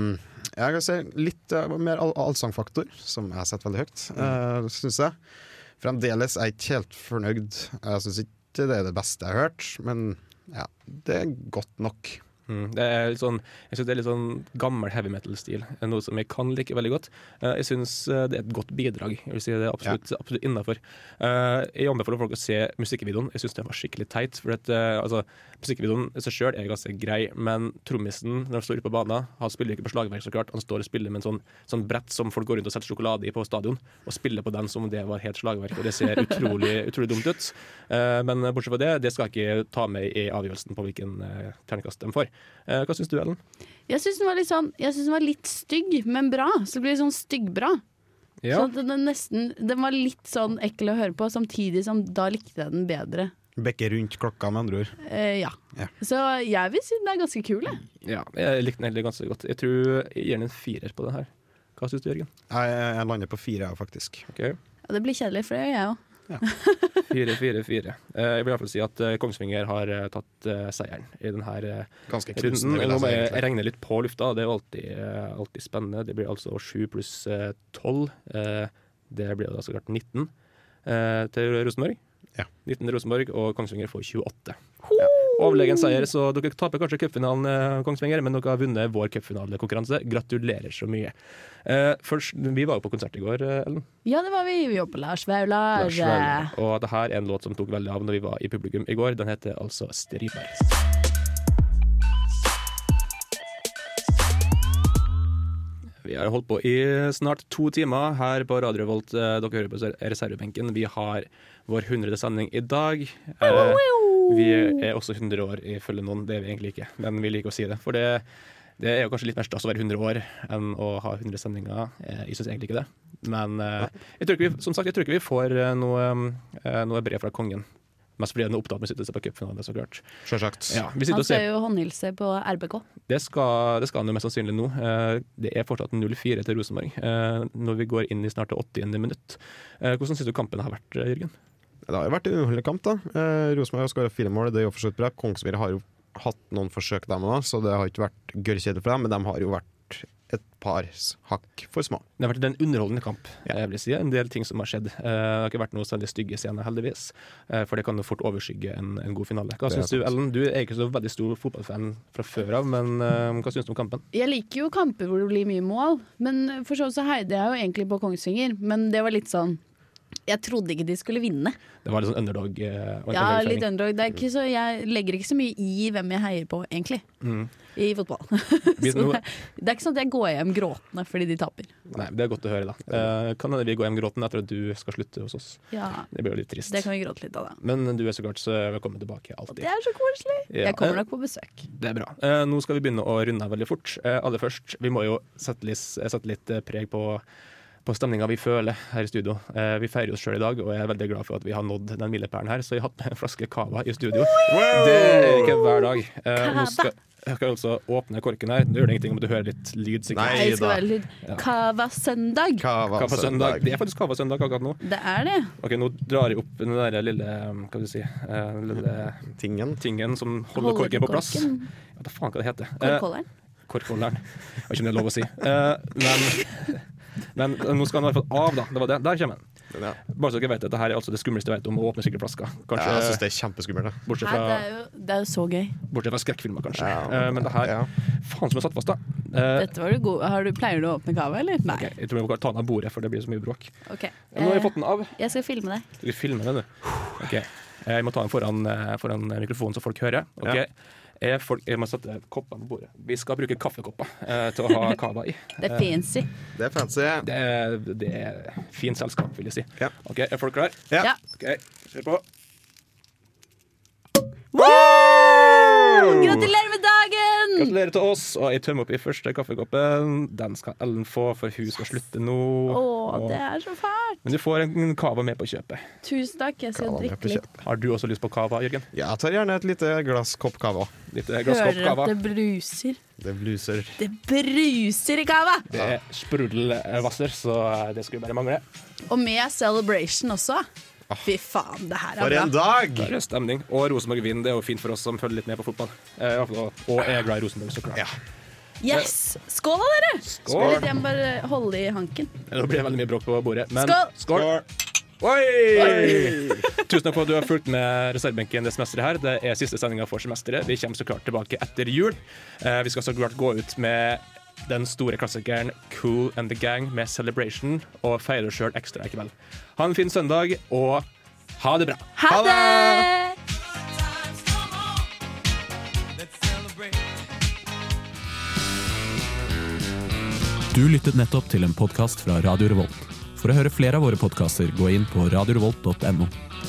Speaker 4: Jeg kan si litt eh, mer all allsangfaktor, som jeg setter veldig høyt, uh, syns jeg. Fremdeles er jeg ikke helt fornøyd. Jeg syns ikke det er det beste jeg har hørt, men ja, det er godt nok.
Speaker 3: Mm, det er litt sånn, jeg synes det er litt sånn gammel heavy metal-stil, eh, noe som jeg kan like veldig godt. Eh, Jeg syns det er et godt bidrag. Jeg vil si Det er absolutt, absolutt innafor. Jeg anbefaler folk å se musikkvideoen. Jeg syns den var skikkelig teit. For at, eh, altså, musikkvideoen i seg sjøl er ganske grei, men trommisen, når han står ute på banen Han spiller ikke på slagverk, så klart. Han står og spiller med en sånn, sånn brett som folk går rundt og setter sjokolade i på stadion, og spiller på den som om det var helt slagverk. Og det ser utrolig, utrolig dumt ut. Eh, Men bortsett fra det, det skal jeg ikke ta med i avgjørelsen på hvilken eh, terningkast de får. Eh, Hva syns du, Ellen?
Speaker 12: Jeg syns den var litt sånn Jeg synes den var litt stygg, men bra. Så det blir sånn styggbra.
Speaker 3: Ja.
Speaker 12: Sånn at den, nesten, den var litt sånn ekkel å høre på, samtidig som da likte jeg den bedre.
Speaker 4: Bekke rundt klokka, med andre ord.
Speaker 12: Eh, ja.
Speaker 4: Ja.
Speaker 12: Så jeg vil si den er ganske kul, jeg.
Speaker 3: Ja, jeg likte den egentlig ganske godt. Jeg tror jeg gir den en firer på den her. Hva syns du, Jørgen?
Speaker 4: Jeg, jeg lander på fire, jeg, faktisk.
Speaker 3: Okay.
Speaker 12: Ja, det blir kjedelig, for det gjør jeg òg.
Speaker 3: Fire, fire, fire. Eh, Jeg vil i hvert fall si at eh, Kongsvinger har eh, tatt eh, seieren i eh, denne
Speaker 4: Ganske
Speaker 3: runden.
Speaker 4: knusende, vil jeg
Speaker 3: Nå må
Speaker 4: si,
Speaker 3: jeg
Speaker 4: egentlig.
Speaker 3: regne litt på lufta, det er jo alltid, eh, alltid spennende. Det blir altså sju pluss eh, tolv. Eh, Det blir da så klart 19 eh, til Rosenborg. 19 til Rosenborg, og Kongsvinger får 28. Ja. Overlegen seier, så dere taper kanskje cupfinalen, eh, Kongsvinger, men dere har vunnet vår cupfinalekonkurranse. Gratulerer så mye. Eh, Først, vi var jo på konsert i går, eh, Ellen.
Speaker 12: Ja, det var vi. Vi jobber på Lars Vaular.
Speaker 3: Lars Vaular. Og det her er en låt som tok veldig av når vi var i publikum i går. Den heter altså 'Striper'. Vi har holdt på i snart to timer her på Radio Revolt. Eh, Dere hører på ser- reservebenken. Vi har vår hundrede sending i dag. Eh, Vi er også 100 år ifølge noen. Det er vi egentlig ikke, men vi liker å si det. For det, det er jo kanskje litt mer stas å være 100 år enn å ha 100 sendinger. Eh, Jeg syns egentlig ikke det. Men eh, jeg tror ikke vi, som sagt, jeg tror ikke vi får eh, noe, eh, noe brev fra kongen Mest fordi den er opptatt med sitt på cupfinale, så klart.
Speaker 4: Selvsagt.
Speaker 3: Ja, vi sitter
Speaker 12: Han
Speaker 3: og ser
Speaker 12: skal jo håndhilse på RBK.
Speaker 3: det skal, det skal han jo mest sannsynlig nå. Eh, Det er fortsatt 0-4 til Rosenborg eh, når vi går inn i snart det 80. minutt. Eh, Hvordan syns du kampen har vært, eh, Jørgen?
Speaker 4: Det har jo vært en underholdende kamp, da. Eh, Rosenborg har skåra fire mål, det er jo for så vidt bra. Kongsvinger har jo hatt noen forsøk, dem òg, så det har ikke vært gørrkjedelig for dem. Men de har jo vært et par s- hakk for små.
Speaker 3: Det har vært en underholdende kamp. Jeg vil si. En del ting som har skjedd. Eh, Det har ikke vært noe særlig stygge scener, heldigvis. Eh, For det kan jo fort overskygge en, en god finale. Hva
Speaker 4: Det er
Speaker 3: syns du,
Speaker 4: sant.
Speaker 3: Ellen? Du er ikke så veldig stor fotballfan fra før av, men eh, hva syns du om kampen?
Speaker 12: Jeg liker jo kamper hvor det blir mye mål, men for så vidt så heide jeg jo egentlig på Kongsvinger. Men det var litt sånn Jeg trodde ikke de skulle vinne.
Speaker 3: Det var litt sånn underdog. eh, og en
Speaker 12: Ja,
Speaker 3: underdog-stemning.
Speaker 12: litt underdog. Det er ikke så, jeg legger ikke så mye i hvem jeg heier på, egentlig.
Speaker 3: Mm.
Speaker 12: I fotball. *laughs*
Speaker 3: Vi-
Speaker 12: så
Speaker 3: nå-
Speaker 12: det, det er ikke sånn at jeg går hjem gråtende fordi de taper.
Speaker 3: Nei, Det er godt å høre, da. Eh, Kan hende vi går hjem gråtende etter at du skal slutte hos oss.
Speaker 12: Ja.
Speaker 3: Det blir jo litt trist.
Speaker 12: Det kan vi gråte litt av, da.
Speaker 3: Men du er så klart så velkommen tilbake alltid.
Speaker 12: Det er så koselig!
Speaker 3: Ja.
Speaker 12: Jeg kommer nok på besøk.
Speaker 3: Det er bra. Eh, nå skal vi begynne å runde av veldig fort. Eh, aller først, vi må jo sette litt, sette litt eh, preg på, på stemninga vi føler her i studio. Eh, vi feirer oss sjøl i dag, og jeg er veldig glad for at vi har nådd den milepælen her, så jeg har hatt med en flaske cava i studio. Det er ikke hver dag. Eh, nå skal, jeg skal altså åpne korken her. Det gjør det ingenting om du hører litt lyd, sikkert.
Speaker 12: Jeg elsker å være litt Cava søndag.
Speaker 3: Cava søndag. Det er faktisk Cava søndag akkurat nå.
Speaker 12: Det er det.
Speaker 3: Ok, Nå drar jeg opp den der lille hva skal du si, eh, lille tingen. som holder,
Speaker 12: Holder
Speaker 3: korken på
Speaker 12: på
Speaker 3: plass.
Speaker 12: korken.
Speaker 3: Jeg vet da faen hva det heter. Eh,
Speaker 12: Korkholderen.
Speaker 3: Korkholderen. Jeg vet ikke om det er lov å si. Eh, men, men nå skal han i hvert fall av, da. Det var det. Der kommer den. Bare så dere vet at dette her er altså det skumleste jeg vet om å åpne slike flasker. Kanskje,
Speaker 4: Ja, jeg synes det er kjempeskummelt. da.
Speaker 3: bortsett
Speaker 12: Nei, det,
Speaker 3: fra,
Speaker 12: er jo, det er jo så gøy.
Speaker 3: bortsett fra skrekkfilmer, kanskje. Eh, men det her Faen som er satt fast, da. Eh,
Speaker 12: Dette var du god. Har du, pleier du å åpne cava, eller? Nei.
Speaker 3: ok, jeg tror jeg må ta den av bordet, for det blir så mye bråk.
Speaker 12: Ok.
Speaker 3: Nå har jeg
Speaker 12: Eh,
Speaker 3: fått den av.
Speaker 12: Jeg skal filme deg.
Speaker 3: Skal vi filme den, du? Ok. Jeg må ta den foran, eh, foran mikrofonen så folk hører. Ok. Jeg, folk, jeg må sette koppene på bordet. Vi skal bruke kaffekopper eh, til å ha cava i.
Speaker 12: Det er fancy.
Speaker 4: Det er fancy.
Speaker 3: Det er, det er fint selskap, vil jeg si. Ok, Er folk klare?
Speaker 12: Ja. Ja.
Speaker 3: Ok, Kjør på.
Speaker 12: Gratulerer med dagen!
Speaker 3: Gratulerer til oss. Og jeg tømmer opp i første kaffekoppen. Den skal Ellen få, for hun skal slutte nå.
Speaker 12: Å,
Speaker 3: Og-
Speaker 12: det er så fælt.
Speaker 3: Men du får en cava med på kjøpet.
Speaker 12: Tusen takk, jeg skal drikke litt.
Speaker 3: Har du også lyst på cava, Jørgen? eh,
Speaker 4: Ja, jeg tar gjerne et lite glass kopp cava.
Speaker 12: Hører at det bruser.
Speaker 4: Det bluser.
Speaker 12: Det bruser i cava!
Speaker 3: Det er sprudelvasser, så eh, det skulle bare mangle.
Speaker 12: Og med celebration også. Fy faen, det her er bra.
Speaker 3: Ah. For en stemning. Og Rosenborg vinner. Det er jo fint for oss som følger litt med på fotball. Eh, i hvert fall, og jeg er glad i Rosenborg, så klart.
Speaker 12: Yes! Skål da, dere!
Speaker 3: Skål.
Speaker 12: Litt, jeg må bare holde i hanken.
Speaker 3: Nå blir det veldig mye bråk på bordet, men
Speaker 12: Skål!
Speaker 3: Oi! *laughs* Tusen takk for at du har fulgt med reservebenken det semesteret her. Det er siste sendinga for semesteret. Vi kommer så klart tilbake etter jul. Eh, Vi skal så klart gå ut med den store klassikeren Cool and the Gang med Celebration, og feire oss sjøl ekstra i kveld. Ha en fin søndag, og ha det bra.
Speaker 14: Ha det!
Speaker 20: Du lyttet nettopp til en podkast fra Radio Revolt. For å høre flere av våre podkaster, gå inn på radiorevolt.no.